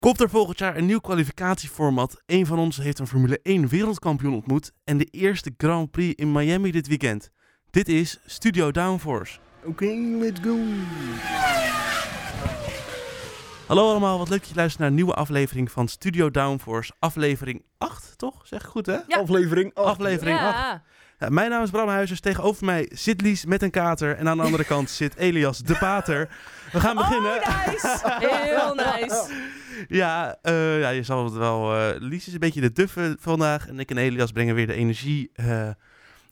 Komt er volgend jaar een nieuw kwalificatieformat? Een van ons heeft een Formule 1 wereldkampioen ontmoet en de eerste Grand Prix in Miami dit weekend. Dit is Studio Downforce. Oké, let's go. Hallo allemaal, wat leuk dat je luistert naar een nieuwe aflevering van Studio Downforce. Aflevering 8, toch? Zeg ik goed hè? Ja. Aflevering acht. Aflevering 8. ja. Ja, mijn naam is Bram Huizers. Tegenover mij zit Lies met een kater. En aan de andere kant zit Elias de Pater. We gaan beginnen. Oh, nice. Heel nice. Ja, eh, ja, je zal het wel. eh, Lies is een beetje de duffe vandaag. En ik en Elias brengen weer de energie eh,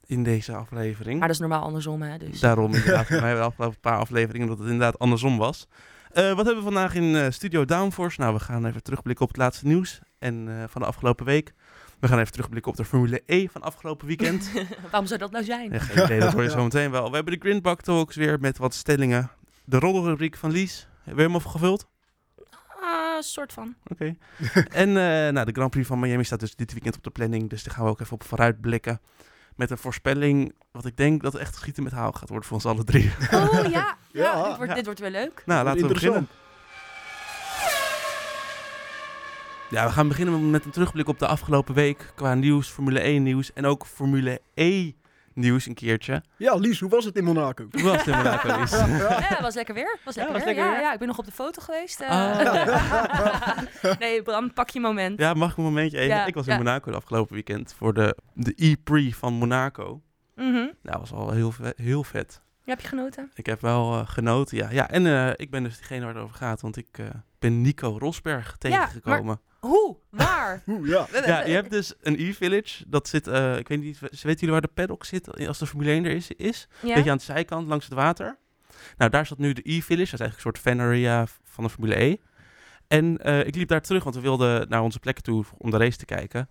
in deze aflevering. Maar dat is normaal andersom, hè? Dus. Daarom inderdaad voor mij de afgelopen paar afleveringen dat het inderdaad andersom was. Eh, wat hebben we vandaag in eh, Studio Downforce? Nou, we gaan even terugblikken op het laatste nieuws en, eh, van de afgelopen week. We gaan even terugblikken op de Formule E van afgelopen weekend. Waarom zou dat nou zijn? Ja, geen idee, dat hoor je zo meteen wel. We hebben de Grindbak Talks weer met wat stellingen. De roddelrubriek van Lies, weer helemaal gevuld. Ah, soort van. Oké. en eh, nou, de Grand Prix van Miami staat dus dit weekend op de planning. Dus daar gaan we ook even op vooruit blikken. Met een voorspelling, wat ik denk dat echt schieten met haal gaat worden voor ons alle drie. Oh ja, ja, Ja. Dit, wordt, Ja. dit wordt weer leuk. nou, laten we Interessant. beginnen. Ja, we gaan beginnen met een terugblik op de afgelopen week. Qua nieuws, Formule 1 nieuws en ook Formule E nieuws een keertje. Ja, Lies, hoe was het in Monaco? Hoe was het inderdaad, Lies? Ja, was lekker weer. Was Ja, lekker was weer. lekker ja, weer. ja, ik ben nog op de foto geweest. eh. Ah. nee, Bram, pak je moment. Ja, mag ik een momentje even? Ja, ik was in ja. Monaco de afgelopen weekend voor de, de E-Prix van Monaco. Mhm. Nou, was al heel, ve- heel vet. Heb je genoten? Ik heb wel eh, genoten, ja. ja en eh, ik ben dus diegene waar het over gaat, want ik eh, ben Nico Rosberg tegengekomen. Hoe? Waar? Oeh, ja. We- we- Ja, je hebt dus een E-Village, dat zit, eh, ik weet niet, weten jullie waar de paddock zit als de Formule 1 er is? is? Ja? Beetje aan de zijkant, langs het water. Nou, daar zat nu de E-Village, dat is eigenlijk een soort fan area van de Formule E. En eh, ik liep daar terug, want we wilden naar onze plek toe om de race te kijken.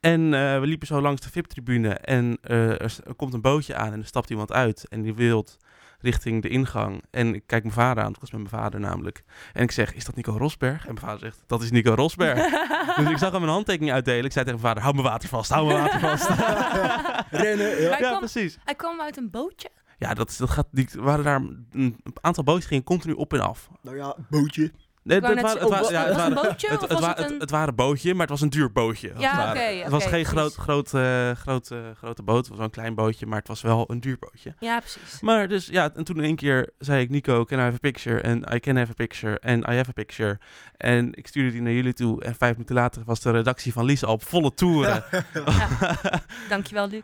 En eh, we liepen zo langs de VIP-tribune en eh, er, s- er komt een bootje aan en er stapt iemand uit. En die wilt richting de ingang. En ik kijk mijn vader aan, want ik was met mijn vader namelijk. En ik zeg, is dat Nico Rosberg? En mijn vader zegt, dat is Nico Rosberg. dus ik zag hem een handtekening uitdelen. Ik zei tegen mijn vader, hou mijn water vast, hou mijn water vast. Rennen, ja. Maar- Hij ja, kwam- precies. Hij kwam uit een bootje. Ja, dat, is- dat gaat, die waren daar een aantal bootjes gingen continu op en af. Nou ja, bootje. Nee, Ik wou dat net waren- het zeggen, waren- ja, het was het een waren- bootje het- of het was wa- het het- een- het waren een bootje, maar het was een duur bootje. als Ja, het ware. oké, Het was oké, geen groot, precies. groot, eh, groot, eh, grote boot, het was wel een klein bootje, maar het was wel een duur bootje. Ja, precies. Maar dus ja, en toen in één keer zei ik Nico, can I have a picture? En I can have a picture. En I have a picture. En ik stuurde die naar jullie toe. En vijf minuten later was de redactie van Lisa op volle toeren. Ja, Dankjewel, Luc,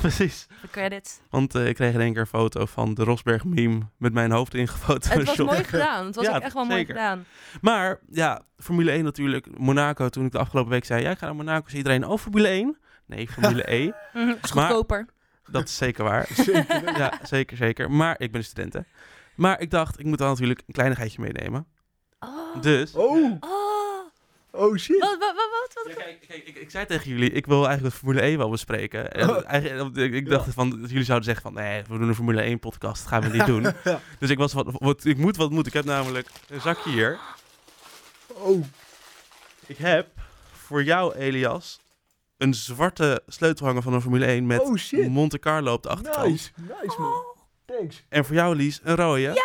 precies. voor de credits. Want eh, ik kreeg in één keer een foto van de Rosberg meme met mijn hoofd Het ingefotoshop. was mooi gedaan. Het was Ja, ook echt wel mooi zeker. gedaan. Maar ja, Formule 1 natuurlijk. Monaco, toen ik de afgelopen week zei, ja, ik ga naar Monaco. Zei iedereen, oh, Formule 1? Nee, Formule E. Mhm, het is Maar- goedkoper. Dat is zeker waar. Zeker. weten. Ja, zeker, zeker. Maar ik ben een student, hè. Maar ik dacht, ik moet dan natuurlijk een kleinigheidje meenemen. Oh. Dus... Oh, Oh. oh shit. Wat, wat, wat, wat? wat? Ja, kijk, kijk, ik, ik zei tegen jullie, ik wil eigenlijk het Formule 1 wel bespreken. En Oh. eigenlijk- ik, ik dacht van, dat jullie zouden zeggen van, nee, we doen een Formule 1 podcast, dat gaan we niet doen. Ja. dus ik was wat, wat, ik moet wat moet. Ik heb namelijk een zakje hier. Oh, Ik heb voor jou, Elias, een zwarte sleutel hangen van een Formule 1 met oh shit. Monte Carlo op de achterkant. Nice, nice man. Oh. Thanks. En voor jou, Lies, een rode. Ja!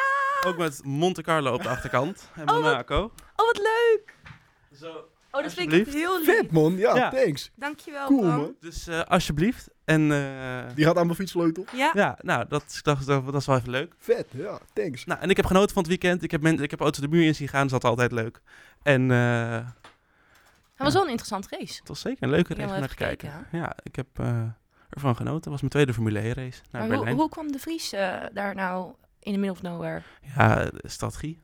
Ook met Monte Carlo op de achterkant en Oh, wat- Monaco. Oh, wat leuk! Zo. Oh, dat vind ik Alsjeblieft. heel Vet leuk. man, ja, Ja. thanks. Dankjewel, Cool Bram. man. Dus eh, alsjeblieft. En eh, Die gaat aan mijn fietssleutel. Ja. ja, nou, dat, is- dat, is- dat is wel even leuk. Vet, ja, thanks. Nou, en ik heb genoten van het weekend. Ik heb, men, ik heb auto's de muur in zien gaan. dus Dat is altijd leuk. En eh, Het was wel een interessant race. het was zeker een leuke Ik heb race om wel naar te even kijken. gekeken, Ja, ik heb eh, ervan genoten. Het was mijn tweede Formule 1 race naar maar hoe, Berlijn. hoe kwam de Vries eh, daar nou in the middle of nowhere? Ja, eh, strategie.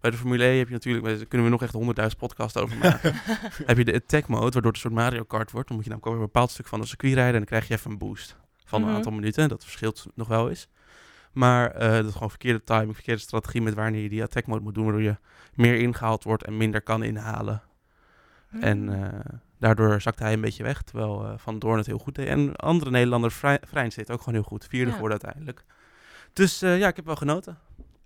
Bij de Formule 1 heb je natuurlijk, daar kunnen we nog echt 100.000 podcasts over maken. heb je de attack mode, waardoor het een soort Mario Kart wordt. Dan moet je namelijk ook weer een bepaald stuk van een circuit rijden en dan krijg je even een boost van Mhm. een aantal minuten. Dat verschilt nog wel eens. Maar eh, dat is gewoon verkeerde timing, verkeerde strategie met wanneer je die attack mode moet doen, waardoor je meer ingehaald wordt en minder kan inhalen. Hmm. En eh, daardoor zakte hij een beetje weg, terwijl eh, Van Doorn het heel goed deed. En andere Nederlander, Vrij- Vrijns deed het ook gewoon heel goed. Vierde Ja. geworden uiteindelijk. Dus eh, ja, ik heb wel genoten.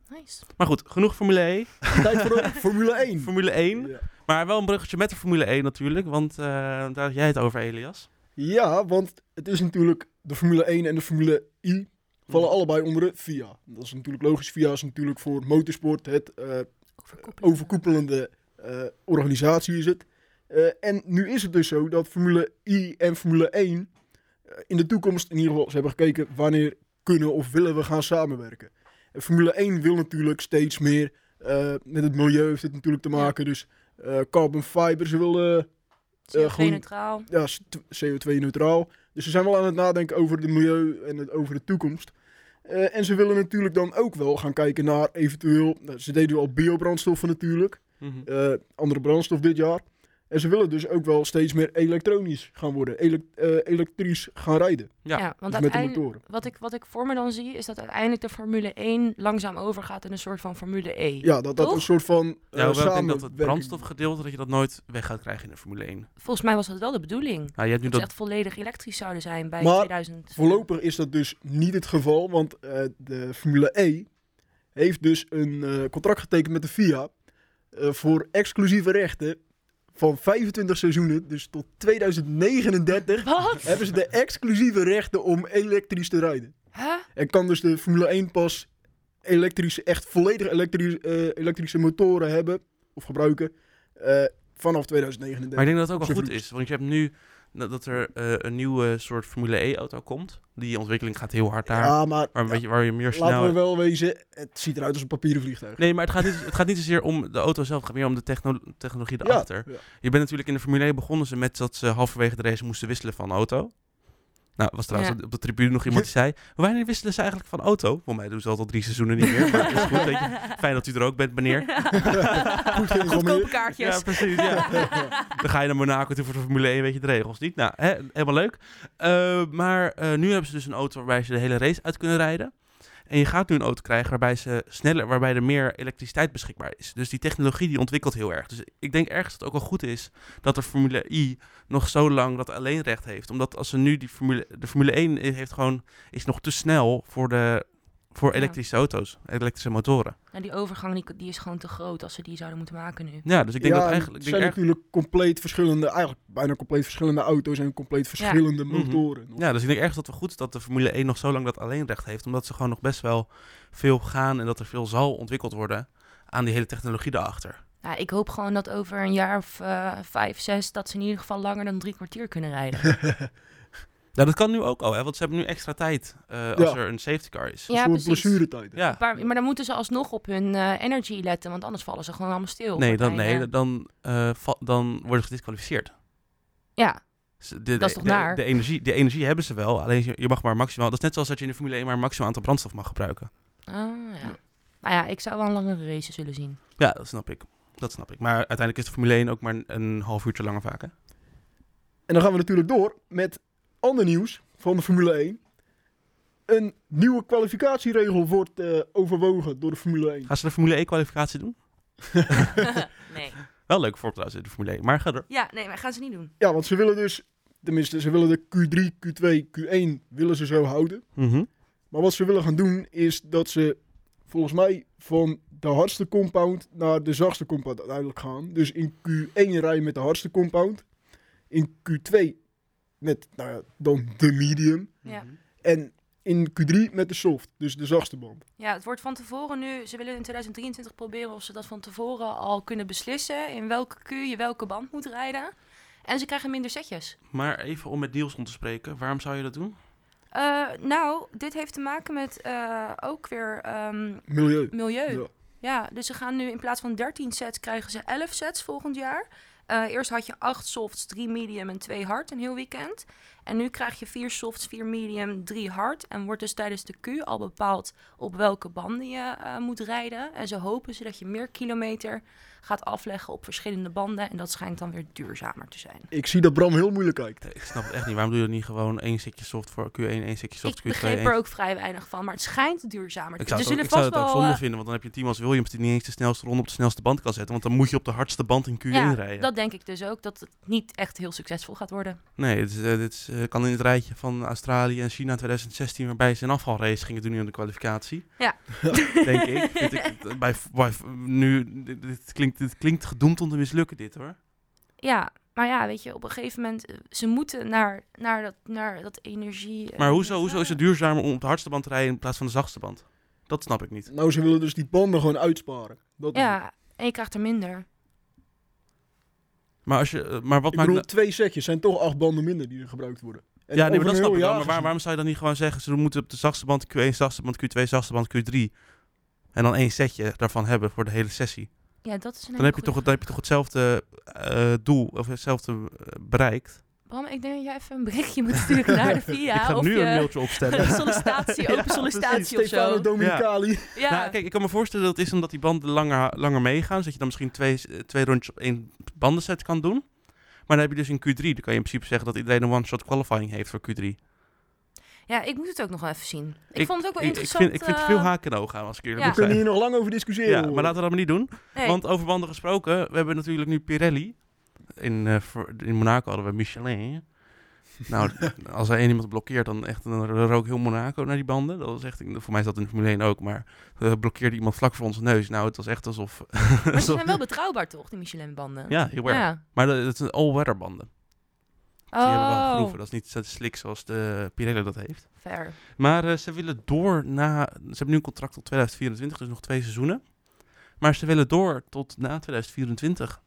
Nice. Maar goed, genoeg Formule 1. Tijd voor de Formule 1. Formule 1. Ja. Maar wel een bruggetje met de Formule 1 natuurlijk. Want eh, daar had jij het over, Elias. Ja, want het is natuurlijk de Formule 1 en de Formule I vallen allebei onder de FIA. Dat is natuurlijk logisch. FIA is natuurlijk voor motorsport het eh, Overkoepelend. overkoepelende eh, eh, organisatie is het. Eh, en nu is het dus zo dat Formule I en Formule 1 eh, in de toekomst in ieder geval, ze hebben gekeken wanneer kunnen of willen we gaan samenwerken. En Formule 1 wil natuurlijk steeds meer, eh, met het milieu heeft het natuurlijk te maken, dus eh, carbon fiber, ze willen CO2 gewoon- neutraal. ja, s- t- CO2-neutraal. Dus ze zijn wel aan het nadenken over het milieu en het, over de toekomst. Eh, en ze willen natuurlijk dan ook wel gaan kijken naar eventueel... nou, ze deden al biobrandstoffen natuurlijk, Mhm. eh, andere brandstof dit jaar. En ze willen dus ook wel steeds meer elektronisch gaan worden, elek- eh, elektrisch gaan rijden. Ja, Ja, want dus met de uiteindelijk- motoren. wat, ik, wat ik voor me dan zie, is dat uiteindelijk de Formule 1 langzaam overgaat in een soort van Formule E. Ja, dat dat Toch? een soort van eh, Ja, hoewel ik denk dat het samenwerking- brandstofgedeelte, dat je dat nooit weg gaat krijgen in de Formule 1. Volgens mij was dat wel de bedoeling. Nou, je hebt nu Dat ze dat... echt volledig elektrisch zouden zijn bij Maar 2000. Voorlopig is dat dus niet het geval, want eh, de Formule E heeft dus een eh, contract getekend met de FIA eh, voor exclusieve rechten van 25 seizoenen, dus tot 2039, Wat? hebben ze de exclusieve rechten om elektrisch te rijden. Huh? En kan dus de Formule 1 pas elektrische, echt volledig elektrische, eh, elektrische motoren hebben of gebruiken eh, vanaf Maar ik 2039. denk dat het ook wel Ze goed vlo- is, want je hebt nu dat dat er eh, een nieuwe soort Formule E-auto komt. Die ontwikkeling gaat heel hard daar. Ja, maar Waar, weet je, waar je nou- meer laten we snel... wel wezen, het ziet eruit als een papieren vliegtuig. Nee, maar het gaat, niet, het gaat niet zozeer om de auto zelf, het gaat meer om de techno- technologie Ja, erachter. ja. Je bent natuurlijk in de Formule 1 begonnen ze met dat ze halverwege de race moesten wisselen van auto. Nou, was trouwens op de tribune nog iemand die zei... Wanneer wisselen ze eigenlijk van auto? Voor mij doen ze dat al drie seizoenen niet meer. Maar het is goed, weet je. Fijn dat u er ook bent, meneer. Goed, geen Goedkope meer. kaartjes. Ja, precies. Ja. Dan ga je naar Monaco toe voor de Formule 1, weet je de regels niet. Nou, hè, helemaal leuk. Eh, maar eh, nu hebben ze dus een auto waarbij ze de hele race uit kunnen rijden. En je gaat nu een auto krijgen waarbij, ze sneller, waarbij er meer elektriciteit beschikbaar is. Dus die technologie die ontwikkelt heel erg. Dus ik denk ergens dat het ook wel goed is dat de Formule I nog zo lang dat alleenrecht heeft. Omdat als ze nu die Formule, de Formule 1 heeft gewoon, is nog te snel voor, de, voor Ja. elektrische auto's, elektrische motoren. Nou, die overgang die, die is gewoon te groot als ze die zouden moeten maken nu. Ja, dus ik denk ja, dat eigenlijk... Ik Het denk zijn erg- natuurlijk compleet verschillende, eigenlijk bijna compleet verschillende auto's en compleet verschillende Mhm. motoren. Ja, dus ik denk echt dat het wel goed is dat de Formule 1 nog zo lang dat alleenrecht heeft. Omdat ze gewoon nog best wel veel gaan en dat er veel zal ontwikkeld worden aan die hele technologie daarachter. Nou, ik hoop gewoon dat over een jaar of eh, vijf, zes... dat ze in ieder geval langer dan drie kwartier kunnen rijden. Nou, dat kan nu ook al, hè, want ze hebben nu extra tijd eh, als Ja. er een safety car is. Ja, voor precies. blessuretijden. Ja. Een paar- maar dan moeten ze alsnog op hun eh, energy letten, want anders vallen ze gewoon allemaal stil. Nee, dan, partijen. nee dan, eh, va- dan worden ze gedisqualificeerd. Ja, Dus De, Dat is toch de, naar? De, energie, de energie hebben ze wel, alleen je, je mag maar maximaal... Dat is net zoals dat je in de Formule 1 maar een maximaal aantal brandstof mag gebruiken. Ah, ja. Nou ja, ik zou wel een langere race zullen zien. Ja, dat snap ik. Dat snap ik. Maar uiteindelijk is de Formule 1 ook maar een, een half uurtje langer vaak, hè? En dan gaan we natuurlijk door met ander nieuws van de Formule 1. Een nieuwe kwalificatieregel wordt eh, overwogen door de Formule 1. Gaan ze de Formule 1-kwalificatie doen? nee. Wel leuk voor trouwens in de Formule 1, maar ga er. Ja, nee, maar gaan ze niet doen. Ja, want ze willen dus, tenminste, ze willen de Q3, Q2, Q1 willen ze zo houden. Maar wat ze willen gaan doen is dat ze volgens mij van de hardste compound naar de zachtste compound uiteindelijk gaan. Dus in Q1 rij je met de hardste compound. In Q2 met nou ja, dan de medium. Ja. En in Q3 met de soft, dus de zachtste band. Ja, het wordt van tevoren nu... Ze willen in 2023 proberen of ze dat van tevoren al kunnen beslissen... in welke Q je welke band moet rijden. En ze krijgen minder setjes. Maar even om met Nielsen te spreken, waarom zou je dat doen? Eh, nou, dit heeft te maken met eh, ook weer ehm, Milieu. milieu. Ja. Ja, dus ze gaan nu in plaats van 13 sets krijgen ze 11 sets volgend jaar. Eh, eerst had je 8 softs, 3 medium en 2 hard een heel weekend. En nu krijg je 4 softs, 4 medium, 3 hard. En wordt dus tijdens de Q al bepaald op welke banden je eh, moet rijden. En zo hopen ze dat je meer kilometer gaat afleggen op verschillende banden. En dat schijnt dan weer duurzamer te zijn. Ik zie dat Bram heel moeilijk kijkt. Ik snap het echt niet. Waarom doe je dat niet gewoon één stukje soft voor Q1, één stukje soft Ik voor Q2? begreep één- er ook vrij weinig van, maar het schijnt duurzamer te Ik zou zijn. het Dus ook, zullen ik zou het vast ook wel... zonde eh, vinden, want dan heb je een team als Williams die niet eens de snelste ronde op de snelste band kan zetten. Want dan moet je op de hardste band in Q1 eh, ja, rijden. dat denk ik dus ook, dat het niet echt heel succesvol gaat worden. Nee, dit, is, eh, dit is, eh, kan in het rijtje van Australië en China 2016, waarbij ze een afvalrace gingen doen in de kwalificatie. Ja. Denk ik. Vind ik bij, bij, nu, dit, dit klinkt, dit klinkt gedoemd om te mislukken, dit hoor. Ja, maar ja, weet je, op een gegeven moment, eh, ze moeten naar, naar, dat, naar dat energie. eh, Maar hoezo, hoezo is het duurzamer om op de hardste band te rijden in plaats van de zachtste band? Dat snap ik niet. Nou, ze willen dus die banden gewoon uitsparen. Dat is het. Ja, en je krijgt er minder. Maar, als je, eh, maar wat ik maakt... bedoel, nou- twee setjes zijn toch acht banden minder die er gebruikt worden. ja, nee, En maar over dat een snap heel ik wel. jaar Maar waar- gezien- waarom zou je dan niet gewoon zeggen... ze moeten op de zachtste band Q1, zachtste band Q2, zachtste band Q3... en dan één setje daarvan hebben voor de hele sessie? Ja, dat is een Dan heb je toch, dan heb je toch hetzelfde eh, doel of hetzelfde eh, bereikt. Bram, ik denk dat jij even een berichtje moet sturen naar de VIA. ik ga of nu je een mailtje opstellen. sollicitatie, open Precies, sollicitatie of Stefano zo. Dominicali. Ja. Nou, kijk, ik kan me voorstellen dat het is omdat die banden langer, langer meegaan. Zodat je dan misschien twee, twee rondjes op één bandenset kan doen. Maar dan heb je dus in Q3, dan kan je in principe zeggen dat iedereen een one-shot qualifying heeft voor Q3. ja, ik moet het ook nog wel even zien. Ik, Ik- vond het ook Ik, wel ik, interessant. vind, ik vind het eh, veel haken en ogen aan, als ik eerlijk Ja. We moet kunnen zijn. hier nog lang over discussiëren. Ja, hoor. maar laten we dat maar niet doen. nee. Want over banden gesproken, we hebben natuurlijk nu Pirelli. In, eh, voor- in Monaco hadden we Michelin. Nou, als er één iemand blokkeert, dan, echt, dan rook heel Monaco naar die banden. Dat was echt, voor mij zat in de Formule 1 ook, maar eh, blokkeerde iemand vlak voor onze neus. Nou, het was echt alsof... Maar ze alsof- zijn wel betrouwbaar toch, die Michelin-banden? ja, heel erg. Ja. Maar dat- het zijn all-weather banden. Die hebben wel Oh, gegroeven. Dat is niet zo slik zoals de Pirelli dat heeft. fair. Maar eh, ze willen door na... Ze hebben nu een contract tot 2024, dus nog twee seizoenen. Maar ze willen door tot na 2024.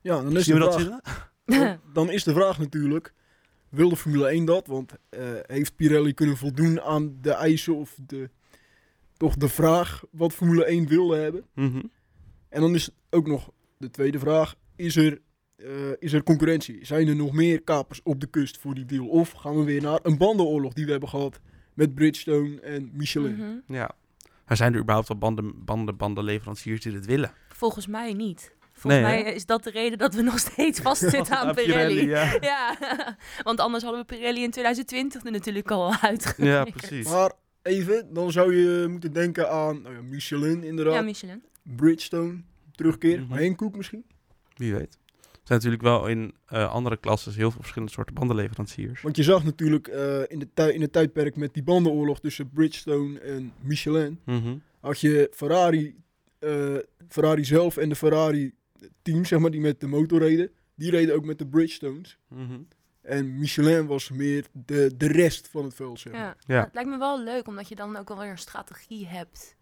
Ja, dan is, Zien de we dat vraag, zitten? dan, dan is de vraag natuurlijk, wil de Formule 1 dat? Want eh, heeft Pirelli kunnen voldoen aan de eisen of de, toch de vraag wat Formule 1 wilde hebben? Mhm. En dan is ook nog de tweede vraag, is er, eh, is er concurrentie? Zijn er nog meer kapers op de kust voor die deal? Of gaan we weer naar een bandenoorlog die we hebben gehad met Bridgestone en Michelin? Mhm. Ja. Maar zijn er überhaupt wel banden, banden, bandenleveranciers die dit willen? Volgens mij niet. Volgens Nee, hè? mij eh, is dat de reden dat we nog steeds vastzitten aan Pirelli. ja. Ja, want anders hadden we Pirelli in 2020 er natuurlijk al uit. ja, precies. Maar even, dan zou je moeten denken aan nou ja, Michelin inderdaad. Ja, Michelin. Bridgestone, terugkeer. Mhm. Hankook misschien. Wie weet. Er zijn natuurlijk wel in eh, andere klassen heel veel verschillende soorten bandenleveranciers. Want je zag natuurlijk eh, in, de tij- in het tijdperk met die bandenoorlog tussen Bridgestone en Michelin. Mhm. Had je Ferrari, eh, Ferrari zelf en de Ferrari team, zeg maar, die met de motor reden. Die reden ook met de Bridgestones. Mhm. En Michelin was meer de, de rest van het veld, zeg maar. Ja. Ja. Het lijkt me wel leuk, omdat je dan ook wel weer een strategie hebt.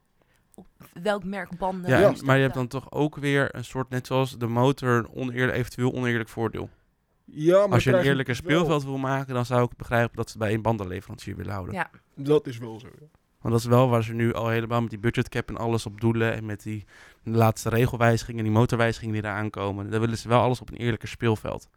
Op welk merk banden. Ja, Ja. en- maar je hebt dan toch ook weer een soort, net zoals de motor, een oneer, eventueel oneerlijk voordeel. Ja, Als maar je een krijg dus eerlijker wel- speelveld wil maken, dan zou ik begrijpen dat ze het bij één bandenleverancier willen houden. Ja. Dat is wel zo, ja. Want dat is wel waar ze nu al helemaal met die budgetcap en alles op doelen. En met die laatste regelwijzigingen en die motorwijzigingen die eraan komen. Daar willen ze wel alles op een eerlijker speelveld.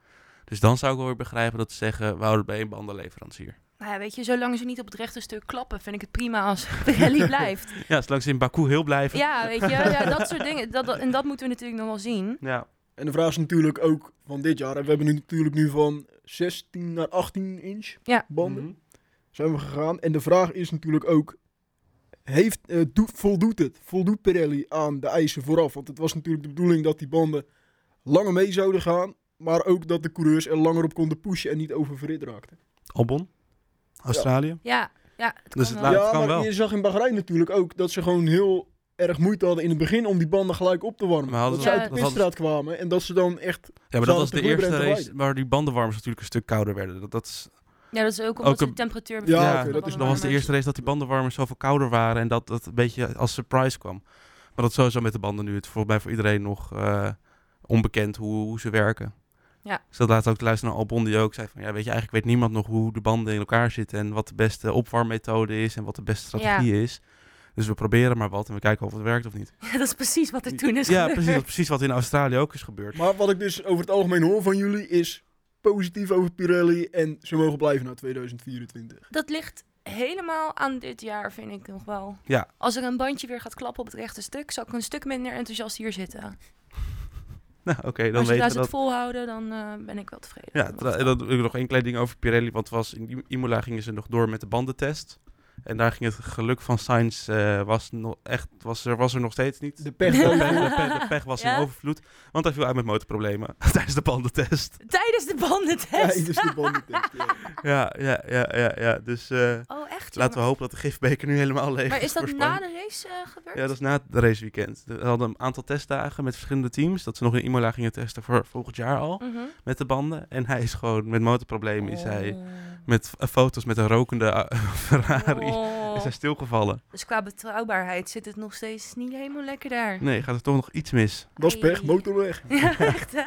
Dus dan zou ik wel weer begrijpen dat ze zeggen, we houden bij één bandenleverancier. Nou ja, weet je, zolang ze niet op het rechte stuk klappen, vind ik het prima als Pirelli blijft. Ja, zolang ze in Baku heel blijven. Ja, weet je, ja, dat soort dingen. Dat, dat- en dat moeten we natuurlijk nog wel zien. Ja. En de vraag is natuurlijk ook van dit jaar. hè, We hebben nu natuurlijk nu van 16 naar 18 inch Ja. banden. Mhm. zijn we gegaan. En de vraag is natuurlijk ook, heeft, eh, doet- voldoet het? Voldoet Pirelli aan de eisen vooraf? Want het was natuurlijk de bedoeling dat die banden langer mee zouden gaan. Maar ook dat de coureurs er langer op konden pushen en niet oververhit raakten. Albon, Australië. Ja, ja het kan Dus het wel. laat- ja, kan maar wel. je zag in Bahrein natuurlijk ook dat ze gewoon heel erg moeite hadden in het begin om die banden gelijk op te warmen. Maar hadden dat ze- ze uit dat de pitstraat kwamen en dat ze dan echt... Ja, maar dat Zouden was de de eerste vloeibreedte race waar die bandenwarmers natuurlijk een stuk kouder werden. Dat, dat, is, Ja, dat is ook omdat Ook ze een- de temperatuur Ja, bepalen oké, van dat de is dat was de warmers. eerste race dat die bandenwarmers zoveel kouder waren. En dat dat een beetje als surprise kwam. Maar dat is sowieso met de banden nu. Het is volgens mij voor iedereen nog eh, onbekend hoe, hoe ze werken. Ja. Ik zat laatst ook te luisteren naar Albon die ook zei van... Ja, weet je, eigenlijk weet niemand nog hoe de banden in elkaar zitten... en wat de beste opwarmmethode is en wat de beste strategie is. Dus we proberen maar wat en we kijken of het werkt of niet. Ja, dat is precies wat er toen is ja, gebeurd. precies, dat is precies wat in Australië ook is gebeurd. Maar wat ik dus over het algemeen hoor van jullie is positief over Pirelli. En ze mogen blijven naar 2024. Dat ligt helemaal aan dit jaar, vind ik nog wel. Ja. Als er een bandje weer gaat klappen op het rechte stuk, zal ik een stuk minder enthousiast hier zitten. Nou, oké, dan Als je weten we het dat. volhouden, dan eh, ben ik wel tevreden. Ja, Dan tra- was en het dan wil ik nog één klein ding over Pirelli. Want het was in I- Imola gingen ze nog door met de bandentest. En daar ging het geluk van Sainz eh, was, nog echt, was, er, was er nog steeds niet. De pech De wel. pech, de pech- de pech was Ja? in overvloed. Want hij viel uit met motorproblemen tijdens de bandentest. al. Tijdens de Ja, bandentest. dus de bandentest. ja. Ja, ja, ja, ja. ja. Dus eh, Oh, echt? joh? laten we hopen dat de gifbeker nu helemaal leeg Maar is dat voor na Spanje. de race eh, gebeurd? Ja, dat is na het raceweekend. We hadden een aantal testdagen met verschillende teams. Dat ze nog in Imola gingen testen voor volgend jaar al. Mhm. Met de banden. En hij is gewoon met motorproblemen. Is hij Oh. Met f- foto's met een rokende eh, Ferrari. Oh. Is hij stilgevallen? Dus qua betrouwbaarheid zit het nog steeds niet helemaal lekker daar. Nee, gaat er toch nog iets mis? Dat is pech, motor weg. Ja, echt hè?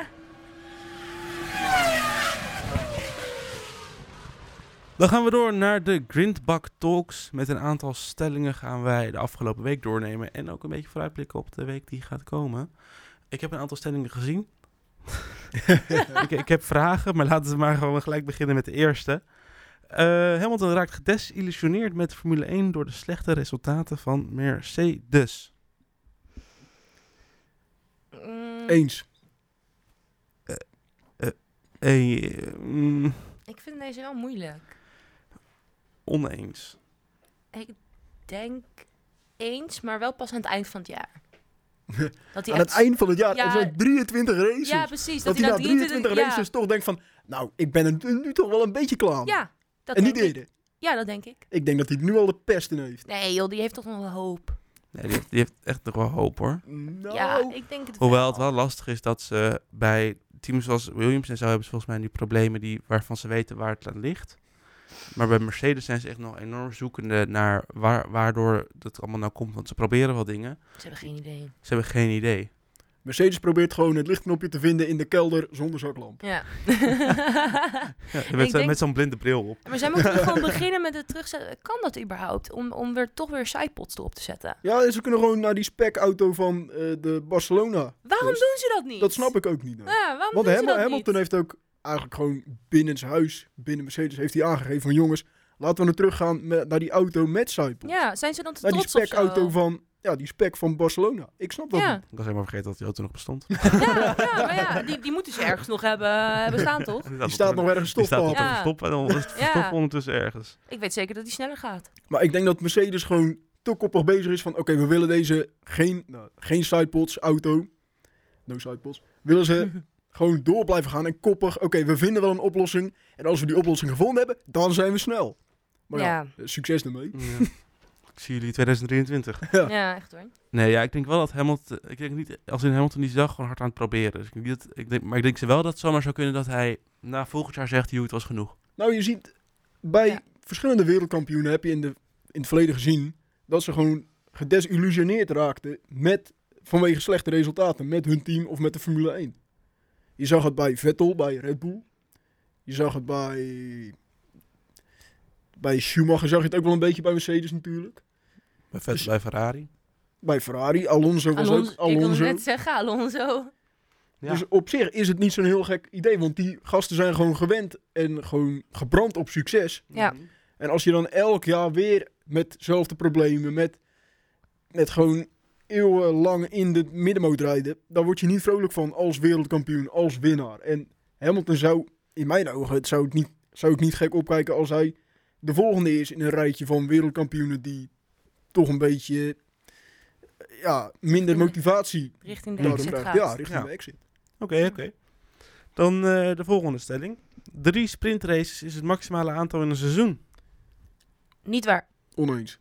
Dan gaan we door naar de Grindbak Talks. Met een aantal stellingen gaan wij de afgelopen week doornemen. En ook een beetje vooruitblikken op de week die gaat komen. Ik heb een aantal stellingen gezien. ik, ik heb vragen, maar laten we maar gewoon gelijk beginnen met de eerste. Eh Hamilton raakt gedesillusioneerd met Formule 1 door de slechte resultaten van Mercedes. Mm, Eens. Eh, mm, ik vind deze wel moeilijk. oneens. Ik denk eens, maar wel pas aan het eind van het jaar. Dat hij Aan het echt- eind van het jaar Ja. er zijn 23 races. Ja, precies. dat Dat, hij hij na nou 23 ja. races toch denkt van... Nou, ik ben er nu toch wel een beetje klaar mee. Ja, dat en niet denk ik. eerder. Ja, dat denk ik. Ik denk dat hij het nu al de pest in heeft. Nee joh, die heeft toch nog wel hoop. Nee, die, heeft, die heeft echt nog wel hoop hoor. Nou, Ja, ik denk het Hoewel het wel lastig is dat ze bij teams zoals Williams en zo hebben ze volgens mij die problemen die, waarvan ze weten waar het aan ligt. Maar bij Mercedes zijn ze echt nog enorm zoekende naar waar, waardoor dat allemaal nou komt. Want ze proberen wel dingen. Ze hebben geen idee. Ze hebben geen idee. Mercedes probeert gewoon het lichtknopje te vinden in de kelder zonder zaklamp. Ja. Ja, met Ik zo- denk- met zo'n blinde bril op. maar zij moeten gewoon beginnen met het terugzetten. Kan dat überhaupt? Om, om weer, toch weer sidepods erop te zetten. Ja, en ze kunnen gewoon naar die spec-auto van eh, de Barcelona. Waarom Dus doen ze dat niet? Dat snap ik ook niet. nou. Ja, waarom Want doen Hamil- ze dat Hamilton niet? heeft ook eigenlijk gewoon binnen zijn huis, binnen Mercedes, heeft hij aangegeven van jongens, laten we nou teruggaan me- naar die auto met Saipel. Ja, zijn ze dan te naar die trots op spec-auto van, ja, die spec van Barcelona. Ik snap dat Ja, niet. Ik was helemaal vergeten dat die auto nog bestond. ja, ja, maar ja, die, die moeten ze ergens nog hebben, hebben staan, toch? Die staat nog ergens Die staat stoppaal. nog Ja. ergens op en dan is het Ja. verstopt ondertussen ergens. Ik weet zeker dat die sneller gaat. Maar ik denk dat Mercedes gewoon te koppig bezig is van... oké, we willen deze geen, nou, geen sidepods auto. No sidepods. Willen ze gewoon door blijven gaan en koppig. Oké, we vinden wel een oplossing. En als we die oplossing gevonden hebben, dan zijn we snel. Maar ja, eh, succes ermee. Ja. Ik zie jullie 2023. Ja. ja. ja echt hoor. Nee, ja, ik denk wel dat Hamilton. Ik denk niet, als in Hamilton die dag gewoon hard aan het proberen. Dus ik denk niet dat, ik denk, maar ik denk ze wel dat het zomaar zou kunnen dat hij na volgend jaar zegt: Joh, het was genoeg. Nou, je ziet bij Ja. verschillende wereldkampioenen heb je in, de, in het verleden gezien... dat ze gewoon gedesillusioneerd raakten met, vanwege slechte resultaten... met hun team of met de Formule 1. Je zag het bij Vettel, bij Red Bull. Je zag het bij... Bij Schumacher zag je het ook wel een beetje bij Mercedes natuurlijk. Bij, Vettel, bij Ferrari. Bij Ferrari, Alonso was Alonso, ook ik wilde Alonso. net zeggen, Alonso. Ja. Dus op zich is het niet zo'n heel gek idee, want die gasten zijn gewoon gewend en gewoon gebrand op succes. Ja. Mhm. En als je dan elk jaar weer met dezelfde problemen, met, met gewoon eeuwenlang in de middenmoot rijden, dan word je niet vrolijk van als wereldkampioen, als winnaar. En Hamilton zou, in mijn ogen, het zou, het niet, zou ik niet gek opkijken als hij de volgende is in een rijtje van wereldkampioenen die toch een beetje ja, minder motivatie Richting de Ja, exit nodig gaat. hebben. Ja, richting Ja. de exit. Oké, oké. Dan eh, de volgende stelling: Drie sprintraces is het maximale aantal in een seizoen. Niet waar. Oneens.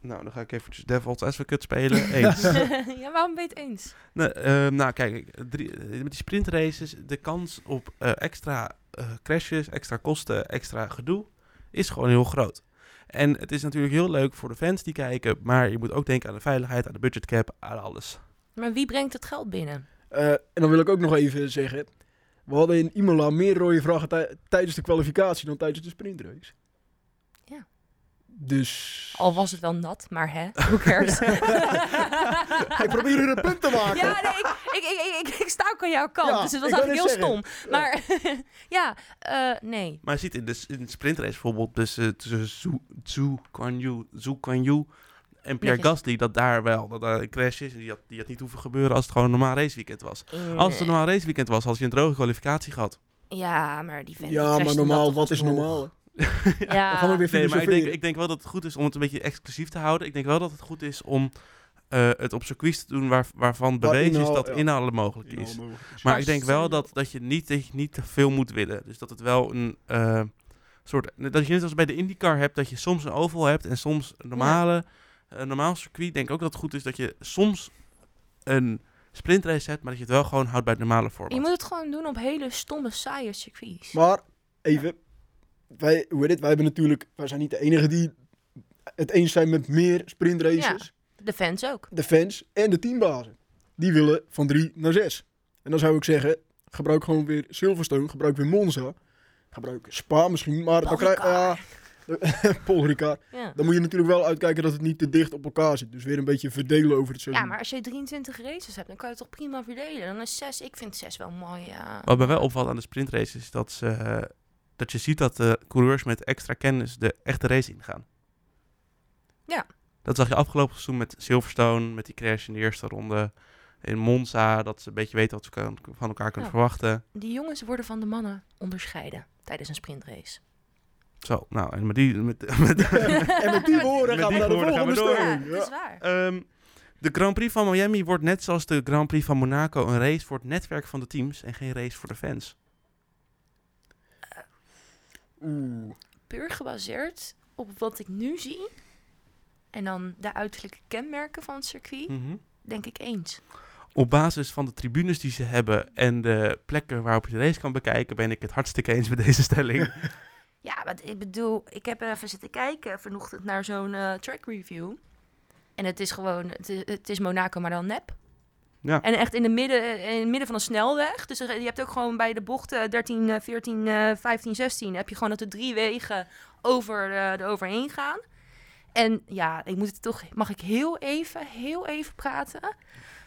Nou, dan ga ik eventjes Devil's Advocate spelen. Eens. ja, waarom ben je het eens? Nou, ehm, nou, kijk, ik- drie, eh, met die sprintraces, de kans op eh, extra eh, crashes, extra kosten, extra gedoe, is gewoon heel groot. En het is natuurlijk heel leuk voor de fans die kijken, maar je moet ook denken aan de veiligheid, aan de budgetcap, aan alles. Maar wie brengt het geld binnen? Eh, en dan wil ik ook nog even zeggen. We hadden in Imola meer rode vragen tij- tijdens de kwalificatie dan tijdens de sprintrace. Ja. Dus... Al was het wel nat, maar hè, who cares? Ik probeer hier een punt te maken. Ja, nee, ik, ik, ik, ik, ik sta ook aan jouw kant, Ja, dus het was ik wou eigenlijk heel net stom. Maar ja, eh, nee. Maar je ziet in de, s- in de sprintrace bijvoorbeeld tussen, tussen Zhu, Zhu, Kuan Yu, Zhu Kuan Yu en Pierre Netjes. Gasly, dat daar wel, dat daar een crash is en die had, die had niet hoeven gebeuren als het gewoon een normaal raceweekend was. Als het een normaal raceweekend was, had je een droge kwalificatie gehad. eh, Ja, maar die vent die Ja, maar crashte normaal, nat wat is alsnog. normaal? hè? Dan Ja, gaan we weer Ah. Nee, maar ik filosoferen. denk, ik denk wel dat het goed is om het een beetje exclusief te houden. Ik denk wel dat het goed is om eh, het op circuits te doen waar, waarvan Waar bewezen is inhaal- dat ja. inhalen mogelijk is. Ja, mogelijk is. Maar Maar ik denk ze- wel dat, dat, je niet, dat je niet te veel moet willen. Dus dat het wel een eh, soort... Dat je net als bij de IndyCar hebt, dat je soms een oval hebt en soms een normale, een normaal circuit. Ik denk ook dat het goed is dat je soms een sprintrace hebt, maar dat je het wel gewoon houdt bij het normale format. je moet het gewoon doen op hele stomme, saaie circuits. Maar, even. Wij, hoe heet het? Wij, hebben natuurlijk, wij zijn niet de enige die het eens zijn met meer sprintraces. De fans ook. de fans en de teambazen. Die willen van 3 naar 6. En dan zou ik zeggen, gebruik gewoon weer Silverstone, gebruik weer Monza. gebruiken. Spa misschien, maar dan Paul krijg Ricard. ja, Paul Ricard. Ja. Dan moet je natuurlijk wel uitkijken dat het niet te dicht op elkaar zit. Dus weer een beetje verdelen over het seizoen. ja, maar als je 23 races hebt, dan kan je het toch prima verdelen. Dan is 6, ik vind 6 wel mooi, ja. Wat mij wel opvalt aan de sprintraces is dat, ze, eh, dat je ziet dat de coureurs met extra kennis de echte race ingaan. Ja. Dat zag je afgelopen seizoen met Silverstone, met die crash in de eerste ronde. In Monza, dat ze een beetje weten wat ze kan- van elkaar kunnen Ja. verwachten. Die jongens worden van de mannen onderscheiden tijdens een sprintrace. Zo, nou, en met die... Met, met, En met die woorden Met gaan die we naar de woorden gaan we volgende door. Ja, stelling. dat is Ja. waar. Ehm, de Grand Prix van Miami wordt net zoals de Grand Prix van Monaco een race voor het netwerk van de teams en geen race voor de fans. Oeh. Puur gebaseerd op wat ik nu zie en dan de uiterlijke kenmerken van het circuit, denk ik eens. Op basis van de tribunes die ze hebben en de plekken waarop je de race kan bekijken, ben ik het hartstikke eens met deze stelling. Ja, want ik bedoel, ik heb even zitten kijken vanochtend naar zo'n eh, track review. En het is gewoon, het is, het is Monaco, maar dan nep. Ja. En echt in, de midden, in het midden van een snelweg. Dus er- je hebt ook gewoon bij de bochten 13, eh, 14, eh, 15, 16... heb je gewoon dat er drie wegen over, eh eroverheen gaan. En ja, ik moet het toch... Mag ik heel even, heel even praten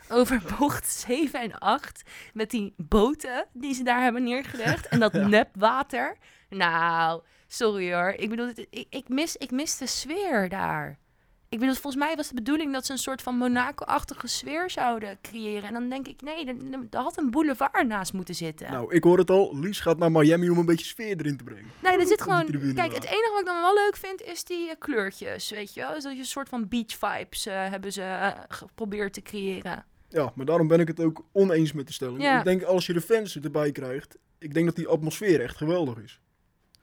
over bocht 7 en 8... met die boten die ze daar hebben neergelegd. En dat nepwater. Nou, sorry hoor. Ik bedoel, dit- ik, ik, mis, ik mis de sfeer daar. Ik bedoel, volgens mij was de bedoeling dat ze een soort van Monaco-achtige sfeer zouden creëren. En dan denk ik, nee, er- er- er had een boulevard naast moeten zitten. Nou, ik hoor het al. Lies gaat naar Miami om een beetje sfeer erin te brengen. nee, er zit op die gewoon... tribune Kijk, wel. het enige wat ik dan wel leuk vind, is die eh, kleurtjes, weet je wel. Dus dat je een soort van beach-vibes eh, hebben ze eh, geprobeerd te creëren. Ja, maar daarom ben ik het ook oneens met de stelling. Ja. Ik denk als je de fans erbij krijgt, ik denk dat die atmosfeer echt geweldig is.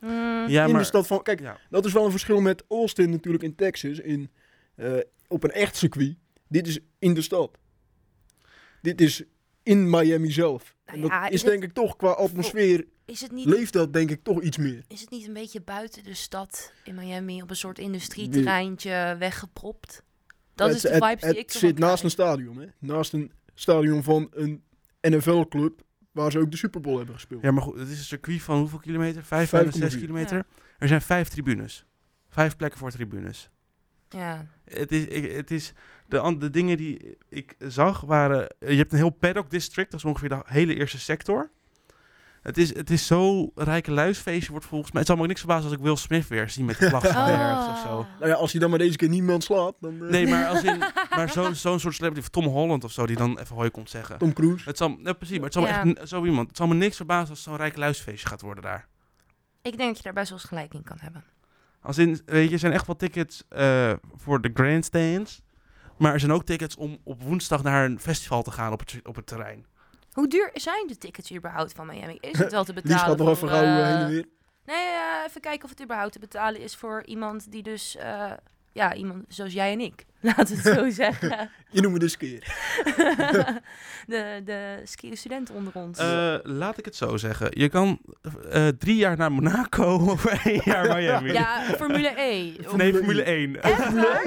Mm, Ja, in de maar stad van. Kijk, Ja. dat is wel een verschil met Austin natuurlijk in Texas. In, eh, op een echt circuit. Dit is in de stad. Dit is in Miami zelf. En Nou ja, dat is is het- denk ik toch qua atmosfeer. Is het niet... Leeft dat denk ik toch iets meer. Is het niet een beetje buiten de stad in Miami op een soort industrieterreintje weggepropt? Dat Het- is de het- vibes die ik Het ervan zit naast een krijg. stadion, hè? Naast een stadion van een NFL-club. Waar ze ook de Super Bowl hebben gespeeld. Ja, maar goed, het is een circuit van hoeveel kilometer? Vijf, Vijf vijf zes kilometer. kilometer. Er zijn vijf tribunes. Vijf plekken voor tribunes. Ja. Het is, ik- het is de, an- de dingen die ik zag waren... Je hebt een heel paddock district, dat is ongeveer de hele eerste sector. Het is, het is zo rijke luisfeestje wordt volgens mij... Het zal me ook niks verbazen als ik Will Smith weer zie met de vlag van ergens of Ah. zo. Nou ja, als hij dan maar deze keer niemand slaat, dan eh, Nee, maar, als in- maar zo- zo'n soort celebrity, Tom Holland of zo, die dan even hoi komt zeggen. Tom Cruise. Het zal, ja, precies, maar het zal me Ja. echt n- zo iemand. Het zal me niks verbazen als zo'n rijk luisfeestje gaat worden daar. Ik denk dat je daar best wel eens gelijk in kan hebben. Als in, weet je, er zijn echt wel tickets eh, voor de grandstands. Maar er zijn ook tickets om op woensdag naar een festival te gaan op het, op het terrein. Hoe duur zijn de tickets überhaupt van Miami? Is het wel te betalen? Lies gaat nog even voor, gauw eh, eh, heen en weer. Nee, eh, even kijken of het überhaupt te betalen is voor iemand die dus... eh, ja, iemand zoals jij en ik. Laten we het zo zeggen. Je noemt me dus keer. de de ski-studenten onder ons. Eh, laat ik het zo zeggen. Je kan eh, drie jaar naar Monaco of één jaar Miami. ja, Formule E. Of- Nee, Formule E. 1. Echt waar?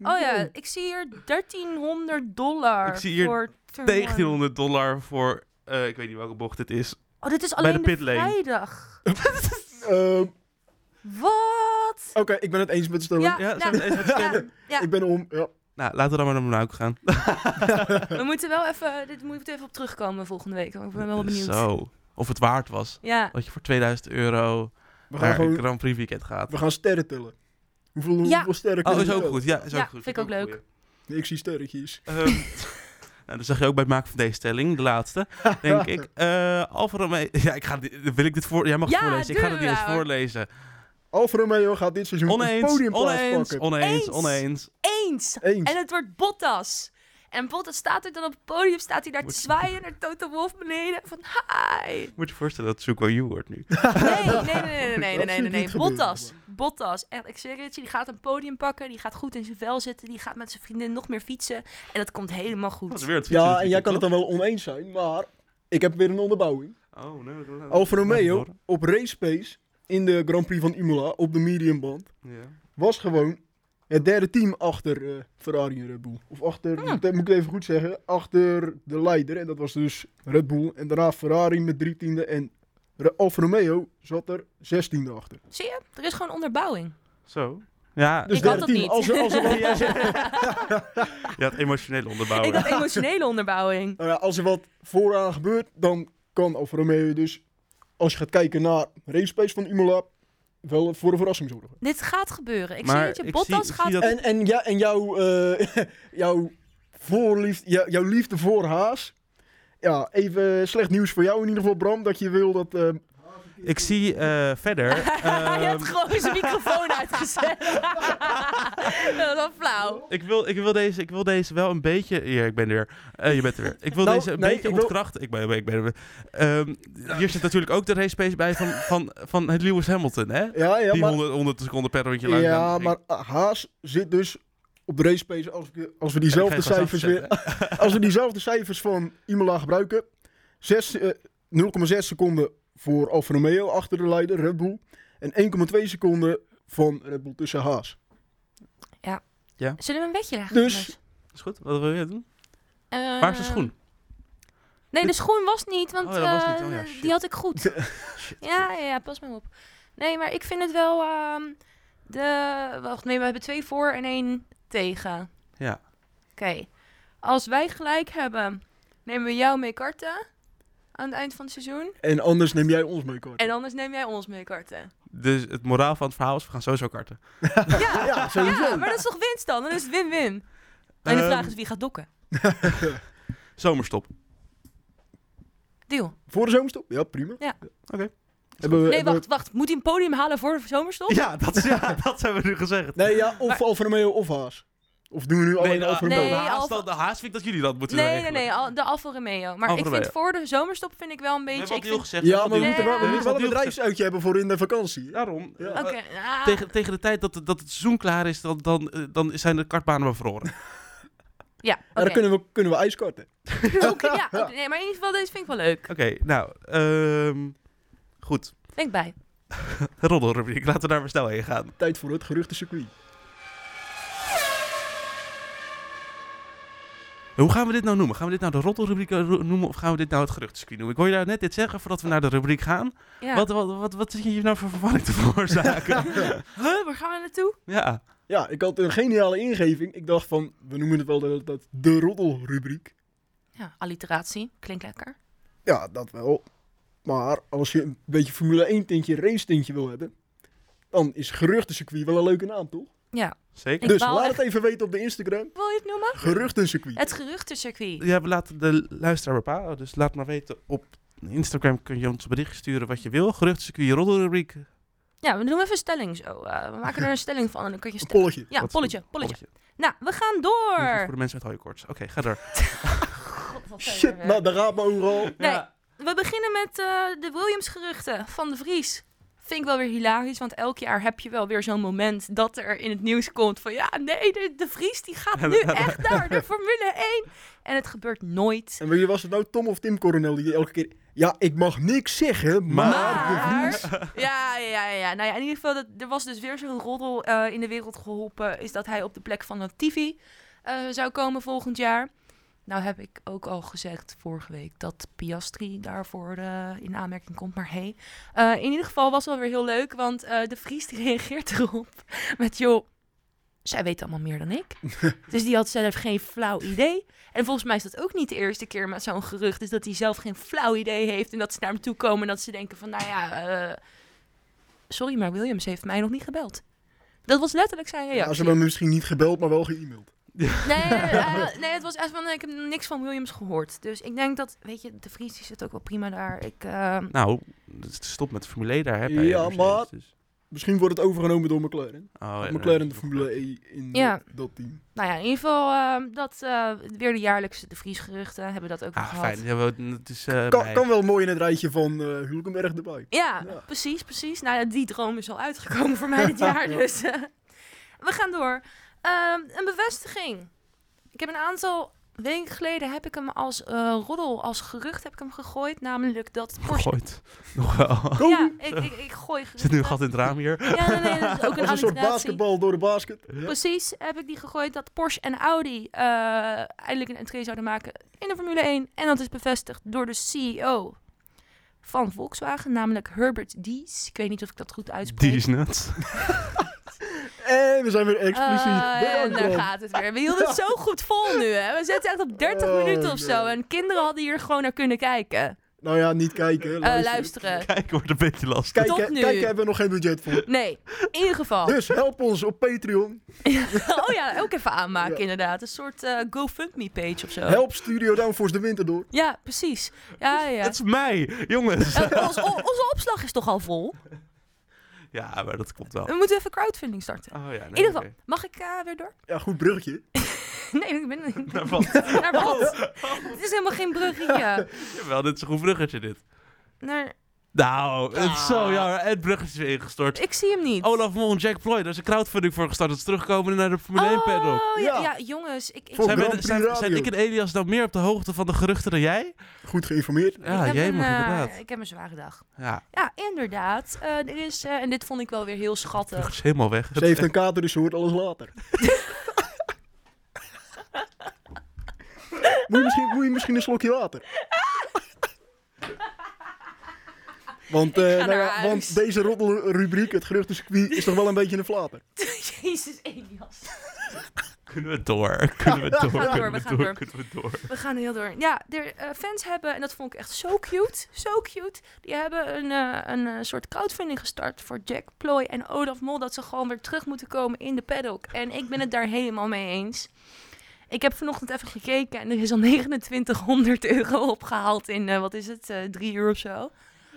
Oh ja, ik zie hier 1300 dollar Ik zie hier voor... turn one. 1900 dollar voor, eh, ik weet niet welke bocht dit is. Oh, dit is Bij de alleen de pitlane. vrijdag. Ehm, Oké, Wat? ik ben het eens met de stelling. Ja, nou, zijn we het eens met ja, ja. Ik ben om. Ja. Nou, laten we dan maar naar Monaco gaan. We moeten wel even, dit moeten we even op terugkomen volgende week. Want ik ben wel benieuwd. Zo. Of het waard was. Ja. Dat je voor 2000 euro We gaan naar een gewoon Grand Prix weekend gaat. we gaan sterren tellen. Hoeveel, Ja. hoeveel sterren Oh, kunnen is we ook tellen? goed. Ja, is Ja, ook goed. vind ik ook leuk. Nee, ik zie sterretjes. Ehm, nou, dat zag je ook bij het maken van deze stelling, de laatste, denk ik. Eh Alfa Romeo... Ja, ik ga, dit- wil ik dit voor... Jij mag het Ja, voorlezen. Ik ga doe het niet eens maar. voorlezen. Alfa Romeo gaat dit seizoen een Oneens, podiumplaats oneens, pakken. oneens, Eens. oneens. Eens. Eens. En het wordt Bottas. En Bottas staat er dan op het podium, staat hij daar te Wordt- zwaaien naar Toto Wolf beneden. Van, hi. Moet je je voorstellen dat Zuko You wordt nu. Nee, nee, nee, nee, nee, nee, nee, nee, absoluut nee. niet gebeuren, Bottas. Bottas. Echt, ik zeg het je, die gaat een podium pakken. Die gaat goed in zijn vel zitten. Die gaat met zijn vriendin nog meer fietsen. En dat komt helemaal Dat is goed. weer het Ja, fietsen en jij kan het natuurlijk, dan wel oneens zijn, maar ik heb weer een onderbouwing. toch? Oh, nee. dat- dat- Alfa Romeo dat- op race pace in de Grand Prix van Imola op de mediumband Ja. was gewoon het derde team achter eh, Ferrari en Red Bull. Of achter, Ah. moet, moet ik het even goed zeggen, achter de leider. En dat was dus Red Bull. En daarna Ferrari met drie tiende en Re- Alfa Romeo zat er 16e achter. Zie je? Er is gewoon onderbouwing. Zo. Ja, Dus Ik had dat 13. niet. Als er, als er, wat, als er- je had emotionele Ik onderbouwing. had emotionele onderbouwing. nou ja, als er wat vooraan gebeurt, dan kan Alfa Romeo dus, als je gaat kijken naar racepace van Imola, wel voor een verrassing zorgen. Dit gaat gebeuren. Ik Maar zie dat je ik Bottas zie- ik gaat... zie dat- En, en, ja, en jouw, eh, jouw, voorliefde, jou- jouw liefde voor Haas. Ja, even slecht nieuws voor jou in ieder geval, Bram, dat je wil dat... eh, Ik zie eh, verder. Hij ehm, heeft gewoon zijn microfoon uitgezet. dat was flauw. ik, wil, ik, wil deze, ik wil deze wel een beetje. Hier, ik ben er weer. Eh, je bent er weer. Ik wil Nou, deze een nee, beetje ik wil- ontkrachten. Ik ben, ik ben, ik ben- ehm, hier zit natuurlijk ook de race pace bij van, van, van het Lewis Hamilton, hè? ja, ja, Die maar, 100, 100 seconden per rondje lang. ja, dan- maar eh, Haas zit dus op de racepace, als, we- als we diezelfde Ik ga even cijfers afzetten. weer... Als we diezelfde cijfers van Imola gebruiken, zes, eh, 0,6 seconden voor Alfa Romeo achter de leider Red Bull en 1,2 seconden van Red Bull tussen Haas. Zullen we een wedje leggen? Dus- jongens? Is goed, wat wil je doen? Eh, Waar is de schoen? Nee, de schoen was niet, want Oh, dat was eh, niet. Oh ja, shit. die had ik goed. ja, ja, ja, pas maar op. Nee, maar ik vind het wel... ehm, de... Wacht, nee, we hebben twee voor en één tegen. Ja. Oké. Als wij gelijk hebben, nemen we jou mee karten aan het eind van het seizoen. En anders neem jij ons mee, Cor. En anders neem jij ons mee karten. Dus het moraal van het verhaal is: we gaan sowieso karten. Ja, Ja, sowieso. ja, maar dat is toch winst dan? Dan is het win-win. En de Ehm, vraag is wie gaat dokken. Zomerstop. Deal. Voor de zomerstop? Ja, prima. Ja. Oké. Hebben we, eh, Nee, hebben we- wacht, wacht. Moet hij een podium halen voor de zomerstop? Ja, dat, is- ja, dat hebben we nu gezegd. Nee, ja, of Alfa Romeo of Haas. Of doen we nu alleen de- Alfa Romeo? de Nee, haast, Alfa- de haast vind ik dat jullie dat moeten Nee, nee, regelen. nee, al- de Alfa Romeo. Maar Alfa ik vind Romeo. voor de zomerstop vind ik wel We een beetje... hebben al Ik deal vind, gezegd. Ja, maar we Nee, moeten wel, we ja. moeten wel een Deal gezegd. bedrijfsuitje hebben voor in de vakantie. Daarom. Ja. eh, Oké, ah. Tegen, tegen de tijd dat, dat het seizoen klaar is, dan, dan, eh, dan zijn de kartbanen bevroren. Ja, En dan oké. kunnen we, kunnen we ijskarten. Oké, ja, oké. nee, maar in ieder geval, deze vind ik wel leuk. Oké, nou, ehm, goed. Denk bij. Roddelrubriek, laten we daar maar snel heen gaan. Tijd voor het geruchtencircuit. Hoe gaan we dit nou noemen? Gaan we dit nou de roddelrubriek eh, ro- noemen of gaan we dit nou het geruchtencircuit noemen? Ik hoor je daar net dit zeggen voordat we naar de rubriek gaan. Ja. Wat, wat, wat, wat zit je hier nou voor verwarring te veroorzaken? Huh, waar gaan we naartoe? ja, Ja, ik had een geniale ingeving. Ik dacht van, we noemen het wel de, dat de roddelrubriek. Ja, alliteratie. Klinkt lekker. Ja, dat wel. Maar als je een beetje Formule 1 tintje, race tintje wil hebben, dan is geruchtencircuit wel een leuke naam, toch? Ja. zeker. Ik dus wou laat echt- het even weten op de Instagram. Wil je het noemen? Geruchtencircuit. Het geruchtencircuit. Ja, we laten de luisteraar bepalen, dus laat maar weten op Instagram kun je ons een bericht sturen wat je wil. Geruchtencircuit, roddelrubriek. Ja, we doen even een stelling zo. Eh, we maken er een stelling van en dan kun je Een stellen. polletje. Ja, Wat- polletje, polletje. polletje. Nou, we gaan Voor door. de mensen met hooikoorts. Oké, ga door. God, wat zijn Shit, er weer. nou, daar gaat me overal. Nee, Ja. we beginnen met eh, de Williams-geruchten van de Vries. Vind ik wel weer hilarisch, want elk jaar heb je wel weer zo'n moment dat er in het nieuws komt van... Ja, nee, de, de Vries die gaat nu echt naar de Formule 1. En het gebeurt nooit. En wie was het nou, Tom of Tim Coronel, die elke keer... Ja, ik mag niks zeggen, maar... Maar, ja, ja, ja. Nou ja, in ieder geval, dat, er was dus weer zo'n roddel eh, in de wereld geholpen. Is dat hij op de plek van Latifi eh zou komen volgend jaar. Nou heb ik ook al gezegd vorige week dat Piastri daarvoor eh, in aanmerking komt. Maar hey, Eh, in ieder geval was het wel weer heel leuk. Want eh, de Vries die reageert erop met joh... Zij weet allemaal meer dan ik. Dus die had zelf geen flauw idee. En volgens mij is dat ook niet de eerste keer met zo'n gerucht. Dus dat hij zelf geen flauw idee heeft. En dat ze naar hem toe komen en dat ze denken van... Nou ja, eh, sorry, maar Williams heeft mij nog niet gebeld. Dat was letterlijk zijn Ja, ze reactie. hebben me misschien niet gebeld, maar wel ge-e-maild. Nee, eh, nee, het was echt van... Ik heb niks van Williams gehoord. Dus ik denk dat... Weet je, de Vries die zit ook wel prima daar. Ik, eh, Nou, dus stop met de Formule 1 daar. Hè, bij Ja, Mercedes, maar- dus. Misschien wordt het overgenomen door McLaren. Oh, ja, McLaren de dat- Formule E. 1 in Ja. dat team. nou ja, in ieder geval... eh, dat eh, weer de jaarlijkse de Vries geruchten hebben dat ook weer Ah, gehad. fijn. Ja, we- het is, eh, Kan, bij- kan wel mooi in het rijtje van eh Hulkenberg erbij. Ja, Ja. precies, precies. Nou ja, die droom is al uitgekomen voor mij dit jaar, dus eh, we gaan door. Ehm, een bevestiging. Ik heb een aantal weken geleden heb ik hem als eh, roddel, als gerucht heb ik hem gegooid, namelijk dat Porsche... Gooit. Nog wel. Gooi. Ja, ik, ik, ik gooi Er geruchten. zit nu een gat in het raam hier. Ja, nee, nee, dat is ook Als een een soort alliteratie. basketbal door de basket. Precies, heb ik die gegooid dat Porsche en Audi eh, eindelijk een entree zouden maken in de Formule 1. En dat is bevestigd door de CEO E van Volkswagen, namelijk Herbert Dies. Ik weet niet of ik dat goed uitspreek. Die is nuts. En we zijn weer expliciet. Ah, en Bedankt, daar man. gaat het weer. We hielden het zo goed vol nu, hè. We zitten echt op 30 Oh, minuten of nee. zo. En kinderen hadden hier gewoon naar kunnen kijken. Nou ja, niet kijken. Eh, Luisteren. luisteren. Kijken wordt een beetje lastig. Kijken, Tot nu. Oh. kijken hebben we nog geen budget voor. Nee, in ieder geval. Dus help ons op Patreon. Oh ja, ook even aanmaken Ja. inderdaad. Een soort eh, GoFundMe-page of zo. Help Studio Downforce de winter door. Ja, precies. Ja, ja. Het is mij, jongens. Eh, ons- o- onze opslag is toch al vol? ja, maar dat komt wel. We moeten even crowdfunding starten. Oh, ja, nee, In ieder geval, oké. mag ik eh, weer door? Ja, goed bruggetje. Nee, ik ben Nou, wat? naar wat? Het is helemaal geen bruggetje. Jawel, dit is een goed bruggetje dit. Naar... Nou, het is Ah. zo jammer. Het bruggetje is ingestort. Ik zie hem niet. Olaf Mol en Jack Ploy, daar is een crowdfunding voor gestart. Dat is terugkomen naar de Formule 1 paddock. Oh, ja, Ja. ja, jongens. Ik, ik, Voor- Zijn, we- Oh, Grand Prix zijn, zijn Radio. ik en Elias nou meer op de hoogte van de geruchten dan jij? Goed geïnformeerd. ik Ja, heb jij een, mag eh, inderdaad. ik heb een zware dag. Ja, Ja, inderdaad. Eh, er is, eh, en dit vond ik wel weer heel het schattig. is helemaal weg. Ze heeft een kater, dus ze hoort alles later. moet, je misschien, moet je misschien een slokje water? Want, eh, ga nou ja, naar huis. want deze roddelrubriek, het geruchtencircuit, is toch wel een beetje een flater. Jezus, Elias. Kunnen we door? Kunnen we door? gaan door, Kunnen we we gaan door. door? Kunnen we door? We gaan heel door. Ja, er, eh, fans hebben, en dat vond ik echt zo cute, zo cute. Die hebben een, eh, een eh, soort crowdfunding gestart voor Jack Ploy en Olaf Mol. Dat ze gewoon weer terug moeten komen in de paddock. En ik ben het daar helemaal mee eens. Ik heb vanochtend even gekeken en er is al 2900 euro opgehaald in, eh, wat is het, eh, drie uur of zo.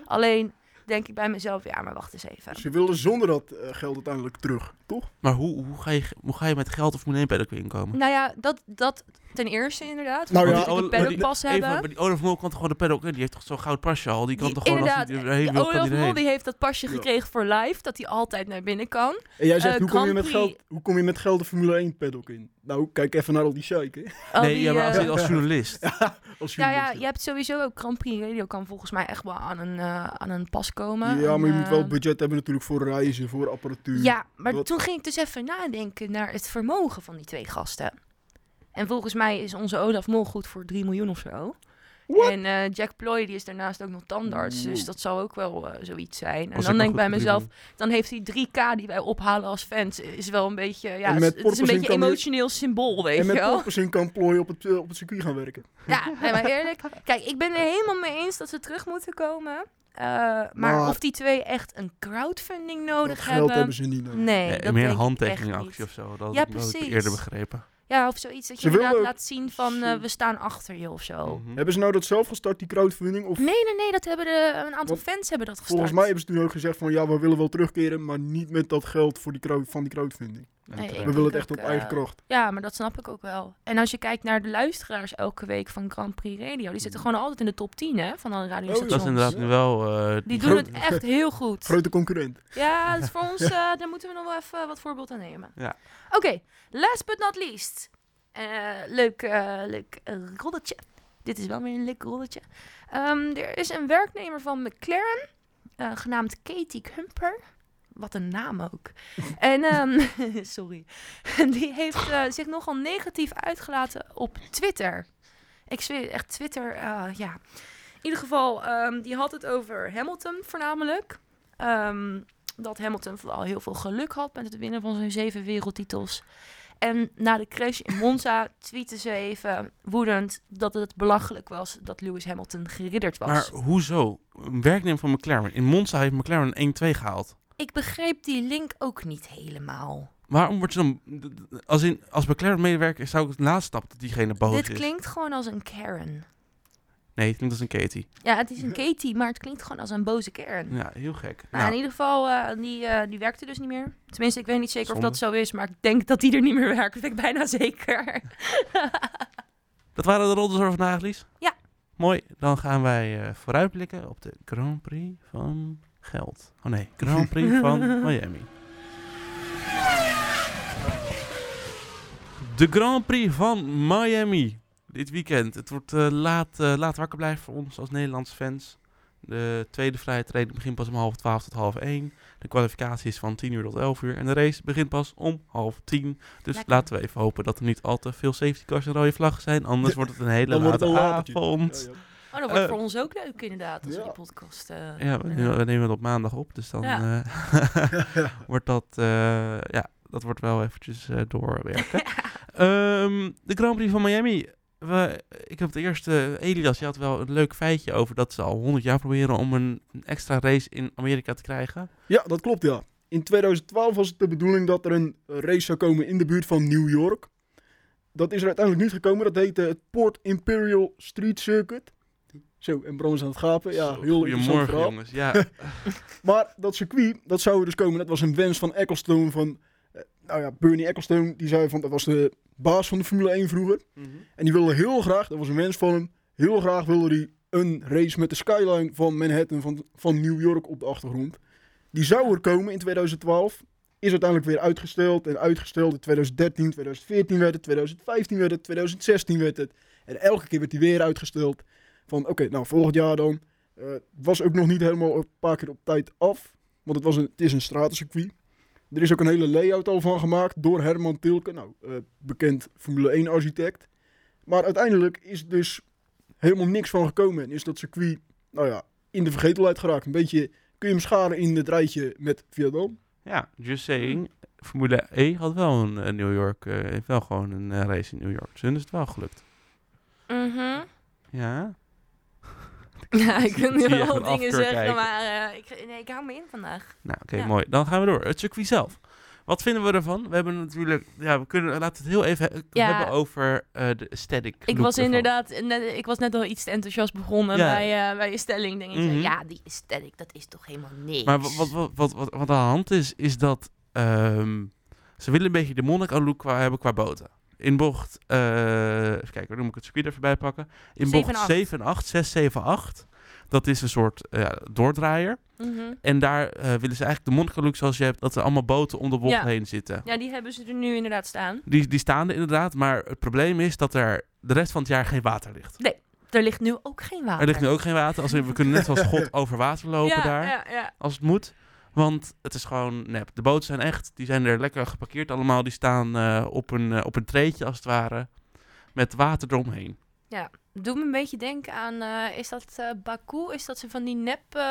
Alleen denk ik bij mezelf, ja, maar wacht eens even. Ze willen zonder dat eh, geld uiteindelijk terug, toch? Maar hoe, hoe, ga je, hoe ga je met geld of Formule 1 paddock weer inkomen? Nou ja, dat, dat ten eerste inderdaad. Nou Nou ja, ja, Olaf- een maar die- paddockpas Even, hebben. maar die Olaf Mol kan toch gewoon de paddock in? Die heeft toch zo'n goud pasje al? Die kan Die- toch gewoon als hij inderdaad, eh, erheen wil, kan Olaf hij Mol erheen? die heeft dat pasje Ja. gekregen voor live, dat hij altijd naar binnen kan. En jij zegt, Eh, hoe, kom je Grand met Prix. geld, hoe kom je met geld de Formule 1 paddock in? Nou, kijk even naar al die sheik, hè. Al Nee, die, ja, maar als, eh, als journalist. Als ja, Nou ja, journalist. je hebt sowieso ook Grand Prix Radio kan volgens mij echt wel aan een, eh, aan een pas komen. Ja, En, maar je moet wel eh, budget hebben natuurlijk voor reizen, voor apparatuur. Ja, maar Wat- toen ging ik dus even nadenken naar het vermogen van die twee gasten. En volgens mij is onze Olaf Mol goed voor 3 miljoen of zo. What? En eh, Jack Ploy die is daarnaast ook nog tandarts, dus Oeh. dat zal ook wel eh, zoiets zijn. En Als dan maar denk ik bij goed op die mezelf, man. dan heeft die 3K die wij ophalen als fans, is wel een beetje, ja, En het, met is- het is een porpoising beetje kan je- emotioneel symbool, weet En je met wel. porpoising kan plooien op het, eh, op het circuit gaan werken. Ja, nee, maar eerlijk. Kijk, ik ben er helemaal mee eens dat ze terug moeten komen. Eh, maar, Maar- of die twee echt een crowdfunding Dat nodig geld hebben. hebben ze niet nodig. Nee, Nee, dat eh, meer denk een ik echt handtekeningactie niet. of zo. Dat Ja, heb ik precies. eerder begrepen. Ja, of zoiets dat je Ze inderdaad willen- laat zien van ze- eh, we staan achter je of zo. Mhm. Hebben ze nou dat zelf gestart, die crowdfunding? Of Nee, nee, nee, dat hebben de, een aantal Want fans hebben dat gestart. volgens mij hebben ze toen ook gezegd van ja, we willen wel terugkeren, maar niet met dat geld voor die crowd, van die crowdfunding. Nee, En ik- We terecht. willen het denk echt op ook, eigen eh, kracht. Ja, maar dat snap ik ook wel. En als je kijkt naar de luisteraars elke week van Grand Prix Radio, die Mm. zitten gewoon altijd in de top 10 hè, van alle Oh, radiostations. Dat is inderdaad nu wel... eh, Die grote- doen het echt heel goed. Grote concurrent. Ja, dus voor ons, eh, daar moeten we nog wel even wat voorbeeld aan nemen. Ja. Oké, last but not least. Eh, leuk eh leuk eh, rolletje. Dit is wel weer een leuk rolletje. Ehm, er is een werknemer van McLaren, eh, genaamd Katie Kumper. Wat een naam ook. En, ehm, sorry. En die heeft eh, zich nogal negatief uitgelaten op Twitter. Ik zweer echt, Twitter, eh, ja. In ieder geval, ehm, die had het over Hamilton voornamelijk. Ehm, dat Hamilton vooral heel veel geluk had met het winnen van zijn zeven wereldtitels. En na de crash in Monza tweette ze even woedend dat het belachelijk was dat Lewis Hamilton geridderd was. Maar hoezo? Een werknemer van McLaren. In Monza heeft McLaren een 1-2 gehaald. Ik begreep die link ook niet helemaal. Waarom wordt ze dan... d- d- Als, in, als McLaren medewerker is, zou ik het nastap dat diegene boos Dit Oh, is. klinkt gewoon als een Karen. Nee, het klinkt als een Katie. Ja, het is een Katie, maar het klinkt gewoon als een boze Karen. Ja, heel gek. Nou, in Nou, ieder geval, eh, die, eh, die werkte dus niet meer. Tenminste, ik weet niet zeker of Zonde. dat zo is, maar ik denk dat die er niet meer werkt. Dat ben ik bijna zeker. dat waren de rollen van vandaag, Lies. Ja. Mooi. Dan gaan wij eh vooruitblikken op de Grand Prix van Geld. Oh nee, Grand Prix van Miami. De Grand Prix van Miami. Dit weekend. Het wordt eh, laat, eh, laat wakker blijven voor ons als Nederlandse fans. De tweede vrije training begint pas om half twaalf tot half één. De kwalificatie is van 10 uur tot 11 uur. En de race begint pas om half tien. Dus Lekker. laten we even hopen dat er niet al te veel safety cars en rode vlaggen zijn. Anders wordt het een hele Dan wordt late het een latertje. avond. Ja, ja. Oh, dat wordt Eh, voor ons ook leuk inderdaad, als we ja. die podcast... eh, Ja, we eh, nemen, we nemen het op maandag op, dus dan Ja. eh, wordt dat, eh, ja, dat wordt wel eventjes eh, doorwerken. Ehm, de Grand Prix van Miami. We, ik heb het eerste, Elias, je had wel een leuk feitje over dat ze al 100 jaar proberen om een, een extra race in Amerika te krijgen. Ja, dat klopt ja. In 2012 was het de bedoeling dat er een race zou komen in de buurt van New York. Dat is er uiteindelijk niet gekomen. Dat heette het Port Imperial Street Circuit. Zo, en Bram is aan het gapen. Ja, Zo, heel interessant Goedemorgen, verhaal. jongens. Ja, Maar dat circuit, dat zou er dus komen. Dat was een wens van Ecclestone van... eh, Nou ja, Bernie Ecclestone, die zei van... Dat was de baas van de Formule 1 vroeger. Mhm. En die wilde heel graag, dat was een wens van hem... Heel graag wilde hij een race met de skyline van Manhattan, van, van New York op de achtergrond. Die zou er komen in 2012. Is uiteindelijk weer uitgesteld en uitgesteld. In 2013, 2014 werd het, 2015 werd het, 2016 werd het. En elke keer werd die weer uitgesteld. Van oké, nou volgend jaar dan. Eh, was ook nog niet helemaal een paar keer op tijd af. Want het, was een, het is een stratencircuit. Er is ook een hele layout al van gemaakt door Herman Tilke. Nou, eh, bekend Formule 1 architect. Maar uiteindelijk is dus helemaal niks van gekomen. En is dat circuit, nou ja, in de vergetelheid geraakt. Een beetje kun je hem scharen in het rijtje met Vietnam. ja, just saying. Formule E had wel een eh, New York, eh, heeft wel gewoon een eh, race in New York. Dus hun is het wel gelukt. mhm. Ja. Ja, ik wil nu zie je echt wel een dingen afkeur zeggen, kijken. maar eh, ik, nee, ik hou me in eh, vandaag. Nou, oké, Ja. mooi. Dan gaan we door. Het circuit zelf. Wat vinden we ervan? We hebben natuurlijk, ja, we kunnen, laten we het heel even he- Ja. hebben over eh, de aesthetic. Ik look was ervan. inderdaad, net, ik was net al iets te enthousiast begonnen Ja. bij, eh, bij je stelling. Denk ik, Mhm. ja, die stelling, dat is toch helemaal niks. Maar wa- wat, wat, wat, wat, wat aan de hand is, is dat ehm, ze willen een beetje de Monaco-look qua, hebben qua boten. In bocht, eh, even kijken, dan moet ik het circuit er even bij pakken. In Zeven en bocht acht. 7 en 8, 6, 7, 8. Dat is een soort eh, doordraaier. Mhm. En daar eh, willen ze eigenlijk de Monaco-look zoals je hebt, dat er allemaal boten om de bocht Ja. heen zitten. Ja, die hebben ze er nu inderdaad staan. Die, die staan er inderdaad, maar het probleem is dat er de rest van het jaar geen water ligt. Er ligt nu ook geen water. Er ligt nu ook geen water. Als in, we kunnen net als God over water lopen ja, daar, Ja, ja. als het moet. Want het is gewoon nep. De boten zijn echt, die zijn er lekker geparkeerd allemaal. Die staan eh, op, een, eh, op een treetje als het ware, met water eromheen. Doet me een beetje denken aan, eh, is dat eh, Baku? Is dat ze van die nep eh,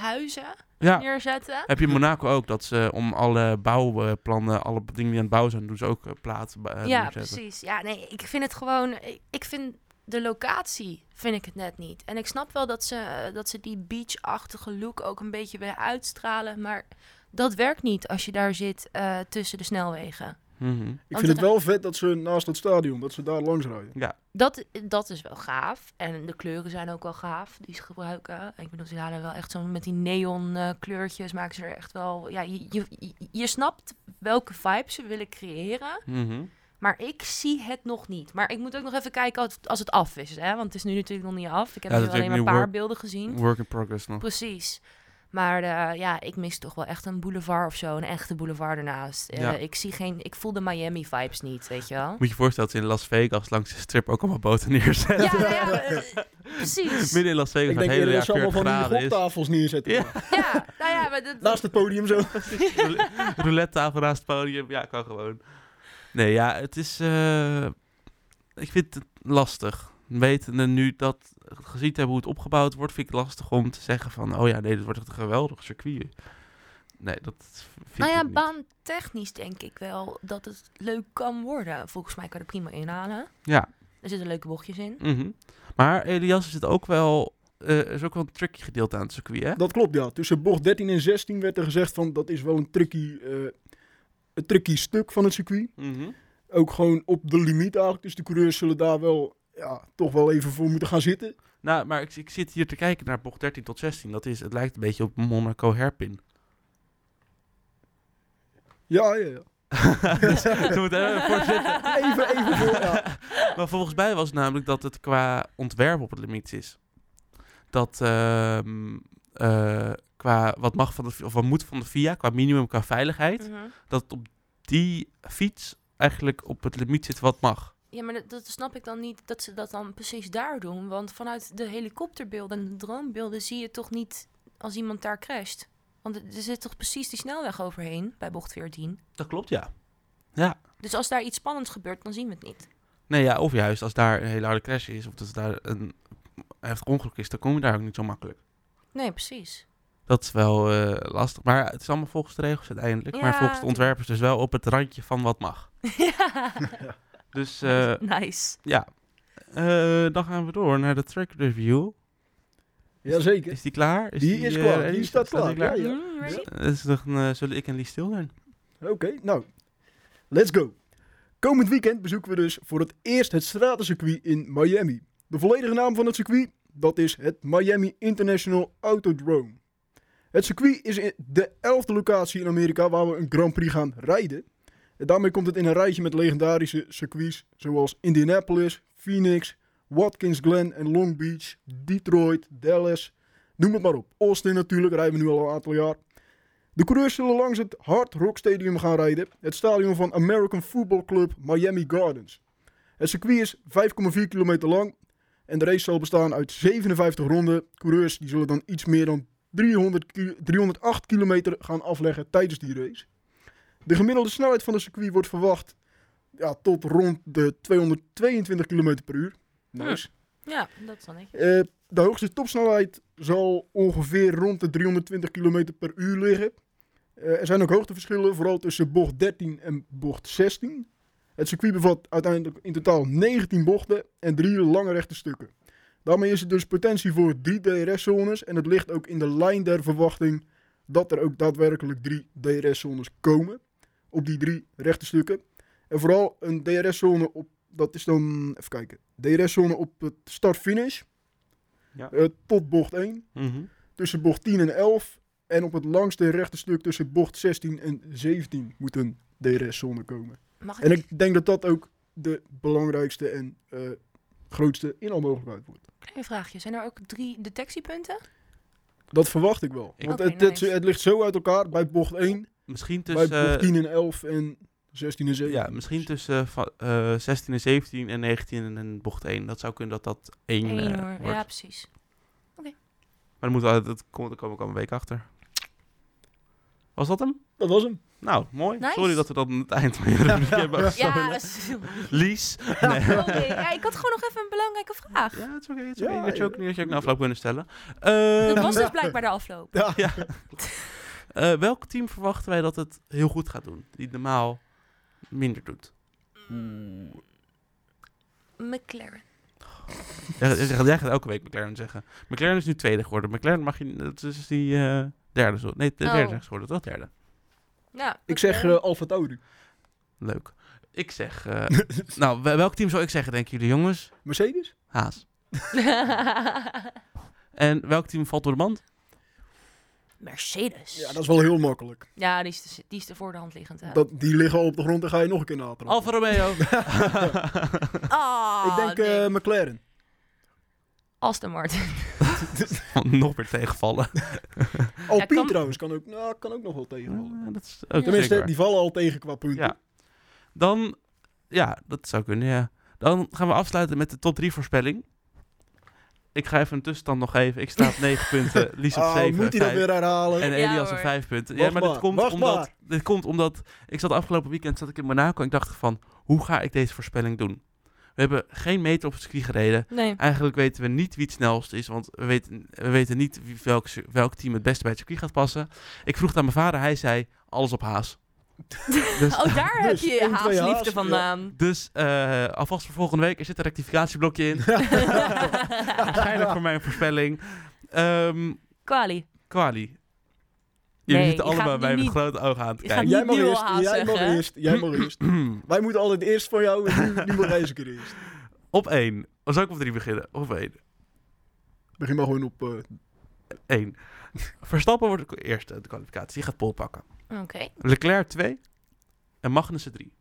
huizen Ja, neerzetten? heb je in Monaco ook, dat ze om alle bouwplannen, alle dingen die aan het bouwen zijn, doen ze ook eh, platen eh, ja, neerzetten. precies. Ja, nee, ik vind het gewoon. ik- Ik vind de locatie vind ik het net niet. En ik snap wel dat ze, eh, dat ze die beachachtige look ook een beetje willen uitstralen, maar dat werkt niet als je daar zit eh, tussen de snelwegen. Mhm. Ik vind het wel vet dat ze naast het stadion, dat ze daar langs rijden. Dat, dat is wel gaaf. En de kleuren zijn ook wel gaaf die ze gebruiken. Ik bedoel, ze halen wel echt zo met die neon eh, kleurtjes maken ze er echt wel. Ja, je, je, je- je snapt welke vibe ze willen creëren. Mhm. Maar ik zie het nog niet. Maar ik moet ook nog even kijken als, als het af is. Hè? Want het is nu natuurlijk nog niet af. Ik heb Ja, nu dat is alleen maar ook een nu paar work- beelden gezien. Work in progress nog. Precies. Maar eh, ja, ik mis toch wel echt een boulevard of zo. Een echte boulevard ernaast. Eh, Ja. ik, zie geen, ik voel de Miami-vibes niet, weet je wel. Moet je je voorstellen dat ze in Las Vegas langs de strip ook allemaal boten neerzetten. Ja, nou ja, eh, precies. Midden in Las Vegas, Ik waar het denk eerder hele dat jaar ze allemaal 40 van die graden is. goktafels neerzetten. Ja. Ja, nou ja, maar dat- Nou Naast het podium zo. Roule- roulette tafel naast het podium. Ja, kan gewoon. Nee, ja, het is... eh, ik vind het lastig. Wetende nu dat gezien te hebben hoe het opgebouwd wordt, vind ik het lastig om te zeggen van... Oh ja, nee, dit wordt echt een geweldig circuit. Nee, dat vind nou ik ja, niet. baantechnisch denk ik wel dat het leuk kan worden. Volgens mij kan je er prima inhalen. Ja. Er zitten leuke bochtjes in. Mhm. Maar Elias is het ook wel... eh, er is ook wel een tricky gedeelte aan het circuit, hè? Dat klopt, ja. Tussen bocht 13 en 16 werd er gezegd van dat is wel een tricky, eh, een tricky stuk van het circuit. Mhm. Ook gewoon op de limiet eigenlijk. Dus de coureurs zullen daar wel, ja, toch wel even voor moeten gaan zitten. Nou, maar ik, ik zit hier te kijken naar bocht 13 tot 16. Dat is, het lijkt een beetje op Monaco Herpin. Ja, ja, ja. dus we moeten er even voor zitten. Even, even voor, ja. Maar volgens mij was het namelijk dat het qua ontwerp op het limiet is. Dat ehm, eh, qua wat mag van de, of wat moet van de VIA, qua minimum, qua veiligheid, Mhm. dat het op die fiets eigenlijk op het limiet zit wat mag. Ja, maar dat, dat snap ik dan niet dat ze dat dan precies daar doen. Want vanuit de helikopterbeelden en de droombeelden zie je toch niet als iemand daar crasht. Want er er zit toch precies die snelweg overheen bij bocht 14. Dat klopt, ja. Dus als daar iets spannends gebeurt, dan zien we het niet. Nee, ja, of juist als daar een hele harde crash is, of dat daar een, heftig ongeluk is, dan kom je daar ook niet zo makkelijk. Nee, precies. Dat is wel eh, lastig. Maar het is allemaal volgens de regels uiteindelijk. maar Ja, volgens de ontwerpers dus wel op het randje van wat mag. ja. Dus eh, nice. ja, Eh, dan gaan we door naar de track review. Jazeker. Is die klaar? Die is klaar. eh, Die staat klaar. die Ja, ja. Mm, ready? Eh, is het een, eh, zullen ik en Lee stil zijn? Oké, nou. Let's go. Komend weekend bezoeken we dus voor het eerst het stratencircuit in Miami. De volledige naam van het circuit, dat is het Miami International Autodrome. Het circuit is in de elfde locatie in Amerika waar we een Grand Prix gaan rijden. En daarmee komt het in een rijtje met legendarische circuits zoals Indianapolis, Phoenix, Watkins Glen en Long Beach, Detroit, Dallas, noem het maar op. Austin natuurlijk, rijden we nu al een aantal jaar. De coureurs zullen langs het Hard Rock Stadium gaan rijden, het stadion van American Football Club Miami Gardens. Het circuit is 5,4 kilometer lang en de race zal bestaan uit 57 ronden. Coureurs die zullen dan iets meer dan 300 ki- 308 kilometer gaan afleggen tijdens die race. De gemiddelde snelheid van het circuit wordt verwacht ja, tot rond de 222 km per uur. Nice. Ja, dat is dan netjes. Eh, de hoogste topsnelheid zal ongeveer rond de 320 km per uur liggen. Eh, er zijn ook hoogteverschillen, vooral tussen bocht 13 en bocht 16. Het circuit bevat uiteindelijk in totaal 19 bochten en drie lange rechte stukken. Daarmee is er dus potentie voor drie DRS-zones en het ligt ook in de lijn der verwachting dat er ook daadwerkelijk drie DRS-zones komen op die drie rechte stukken. En vooral een DRS-zone op, dat is dan, even kijken, DRS-zone op het start-finish Ja. eh, tot bocht 1 Mhm. tussen bocht 10 en 11. En op het langste rechte stuk tussen bocht 16 en 17 moet een DRS-zone komen. Mag En ik? ik denk dat dat ook de belangrijkste en eh, grootste inhaalmogelijkheid wordt. Kleine vraagje. Zijn er ook drie detectiepunten? Dat verwacht ik wel. Ik- Want Oké, het, het, nice. het ligt zo uit elkaar bij bocht 1, Misschien bij tussen... bocht eh, 10 en 11 en 16 en 17. ja, misschien tussen va- eh, 16 en 17 en 19 en bocht 1. Dat zou kunnen dat dat 1 Eén hoor. eh, wordt. Ja, precies. Maar dan moeten we, dat, kom- daar kom ik al een week achter. Was dat hem? Dat was hem. Nou, mooi. Nice. Sorry dat we dat aan het eind van de rubriek hebben gestolen. Ja, s- Lies. sorry. Ja, ik had gewoon nog even een belangrijke vraag. Ja, het is oké. het is Ja, oké. Je had je ook eh, niet had je ook na afloop kunnen stellen. Eh, Dat was dus blijkbaar de afloop. Ja. Ja. eh, welk team verwachten wij dat het heel goed gaat doen? Die het normaal minder doet. Hmm. Hmm. McLaren. Jij, jij zegt- jij gaat elke week McLaren zeggen. McLaren is nu tweede geworden. McLaren mag je... Dat is die eh, derde. zo- Nee, de Oh. derde is geworden. Dat derde. Ja, Ik zeg eh McLaren. Alfa Tauri. Leuk. Ik zeg... eh, nou, wel- welk team zou ik zeggen, denken jullie jongens? Mercedes? Haas. eh, En welk team valt door de band? Mercedes. Ja, dat is wel heel makkelijk. Ja, die is te, die is te voor de hand liggend. hè. Dat, die liggen al op de grond en ga je nog een keer natrappen. Alfa Romeo. Ah, ik denk nee. eh, McLaren. Aston Martin. Nog weer tegenvallen. Alpine kan- trouwens kan ook, nou, kan ook nog wel tegenvallen. Ja, dat is ook Tenminste, zeker waar. die vallen al tegen qua punten. Ja. Dan, ja, dat zou kunnen, ja. Dan gaan we afsluiten met de top 3 voorspelling. Ik ga even een tussenstand nog geven. Ik sta op 9 punten, Lies op Ah, 7. moet hij dat weer herhalen? En Ja, Elias op hoor. 5 punten. Ja, Wacht maar dit maar, komt, wacht omdat, maar. dit komt omdat... Ik zat afgelopen weekend zat ik in Monaco en ik dacht van... Hoe ga ik deze voorspelling doen? We hebben geen meter op het circuit gereden. Nee. Eigenlijk weten we niet wie het snelst is, want we weten, we weten niet wie, welk, cir- welk team het beste bij het circuit gaat passen. Ik vroeg het aan mijn vader, hij zei alles op haas. dus Oh, daar heb Dus je je één, twee haasliefde haas, vandaan. dus eh, alvast voor volgende week, er zit een rectificatieblokje in. Waarschijnlijk voor mijn voorspelling. Ehm Kwali. Kwali. Jullie Nee, zitten je gaat allemaal die mij met niet- grote ogen aan te je gaat kijken. jij niet mag nu al eerst, haast jij mag zeggen, hè? eerst, jij mag eerst. Wij moeten altijd eerst voor jou en nu, nu mag jij eens een keer eerst. Op één. Of zou ik op drie beginnen? Op één. Begin maar gewoon op... eh, Eén. Verstappen wordt de eerste de kwalificatie. Die gaat pol pakken. Oké. Leclerc 2 en Magnussen 3.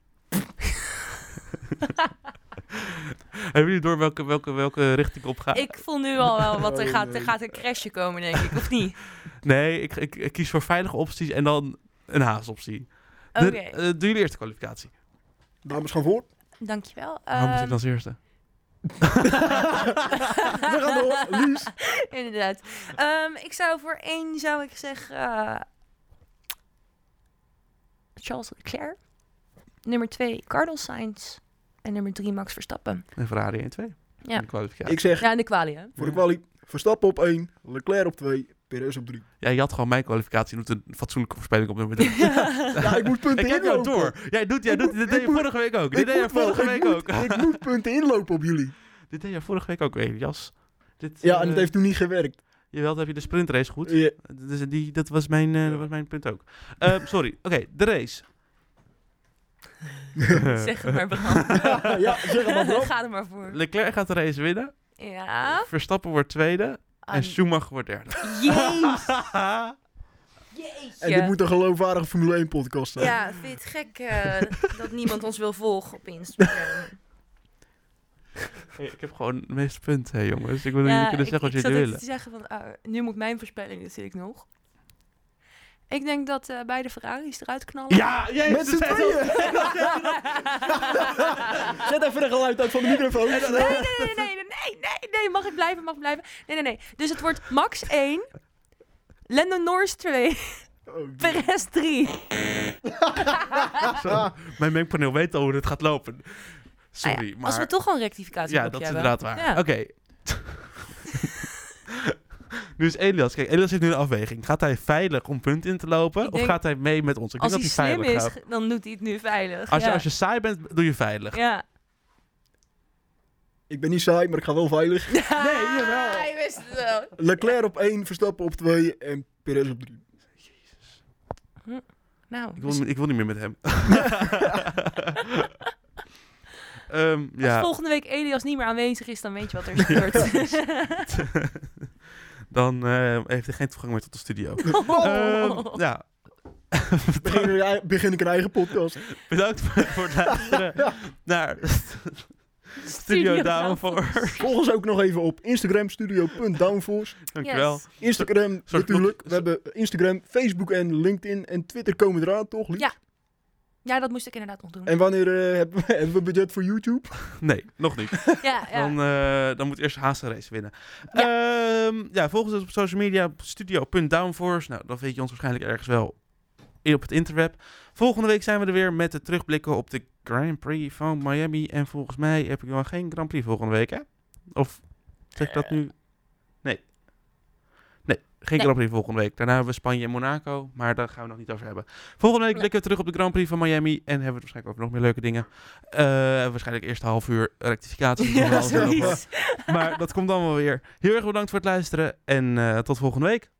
Hebben jullie door welke, welke, welke richting ik op ga? Ah. Ik voel nu al wel wat er Oh, gaat. Er nee. gaat een crashje komen, denk ik. Of niet? Nee, ik, ik, ik kies voor veilige opties en dan een haasoptie. Oké. De- eh, Doen jullie eerst de kwalificatie? dames, gaan voor. Dankjewel. Waarom moet ik Ehm, als eerste? We gaan door. Lies. Inderdaad. Ehm, ik zou voor één zou ik zeggen eh, Charles Leclerc. Nummer twee Carlos Sainz. En nummer drie Max Verstappen. En Ferrari 1-2. Ja. in de kwalificatie. Ik zeg, Ja, in de kwalie, hè? voor de kwalie, Verstappen op 1, Leclerc op 2, Perez op 3. Ja, je had gewoon mijn kwalificatie. Je doet een fatsoenlijke voorspelling op nummer 3. Ja, ik moet punten ik heb jou inlopen. door. Jij doet, jij Ik doet, moet- dit deed ik je moet- vorige week ook. Dit deed je moet wel, vorige ik week moet- ook. Ik moet punten inlopen op jullie. Dit deed je vorige week ook weer, Jas. Dit, Ja, eh, en het heeft toen niet gewerkt. Jawel, dan heb je de sprintrace goed. Ja. Dus die, dat, was mijn, eh, dat was mijn punt ook. Eh, sorry, oké, de race. Zeg het maar, Bram. Eh. Ja, zeg het maar, Ah? Bram. Ga er maar voor. Leclerc gaat de race winnen. Ja. Verstappen wordt tweede. Ah, En Schumacher wordt derde. Jezus. En dit moet een geloofwaardige Formule 1 podcast zijn. Ja, vind je het gek eh, dat niemand ons wil volgen op Instagram? Hey, ik heb gewoon het meeste punt, hè, jongens. Ik wil Ja, jullie kunnen zeggen zat wat jullie even willen. te zeggen van, ah, nu moet mijn voorspelling natuurlijk nog. Ik denk dat eh, beide Ferraris eruit knallen. Ja, jezus. Met z'n en dan- tweeën! Zet even een geluid uit van de microfoon. Nee, nee, nee, nee, nee, nee, nee, nee, mag ik blijven, mag ik blijven. Nee, nee, nee. Dus het wordt Max 1, Lando Norris 2, Oh, die- Perez 3. Zo, Mijn mengpaneel weet al hoe dit gaat lopen. Sorry, Ah ja, maar... Als we toch gewoon rectificatie ja, dat is hebben. inderdaad waar. Oh, Ja. Oké. nu is Elias... Kijk, Elias heeft nu een afweging. Gaat hij veilig om punten in te lopen? Ik of denk- gaat hij mee met ons? Ik Als hij denk dat slim veilig is, gaat. dan doet hij het nu veilig. Als je, ja. als je saai bent, doe je veilig. Ja. Ik ben niet saai, maar ik ga wel veilig. Nee, jawel. Ah, je wist het wel. Leclerc op 1, Verstappen op 2 en Perez op 3. Nou, Ik, dus wil, ik wil niet meer met hem. Ehm, als ja, volgende week Elias niet meer aanwezig is, dan weet je wat er is gebeurd. Ehm, dan eh, heeft hij geen toegang meer tot de studio. Oh. Ehm, ja, Begin, een ei- begin ik een eigen podcast. bedankt voor, voor het luisteren naar Studio Downforce. Volg ons ook nog even op Instagram, studio.downforce. Dankjewel. Yes. Instagram Soort natuurlijk. blok- We hebben Instagram, Facebook en LinkedIn. En Twitter komen eraan, toch? Lies? Ja. Ja, dat moest ik inderdaad nog doen. En wanneer eh, hebben, we, hebben we budget voor YouTube? Nee, nog niet. Ja, ja. Dan, eh, dan moet eerst Haas de race winnen. Ehm, ja, volg ons op social media op studio.downforce. Nou, dan weet je ons waarschijnlijk ergens wel in- op het interweb. Volgende week zijn we er weer met de terugblikken op de Grand Prix van Miami. En volgens mij heb ik nog geen Grand Prix volgende week, hè? Of zeg ik dat nu? Nee. Nee, geen Eh. Nee. Grand Prix volgende week. Daarna hebben we Spanje en Monaco, maar daar gaan we nog niet over hebben. Volgende week Nee. blikken we terug op de Grand Prix van Miami en hebben we het waarschijnlijk over nog meer leuke dingen. Eh, waarschijnlijk eerst een half uur rectificatie. Ja, Nog wel eens zoiets. maar dat komt dan wel weer. Heel erg bedankt voor het luisteren en eh, tot volgende week.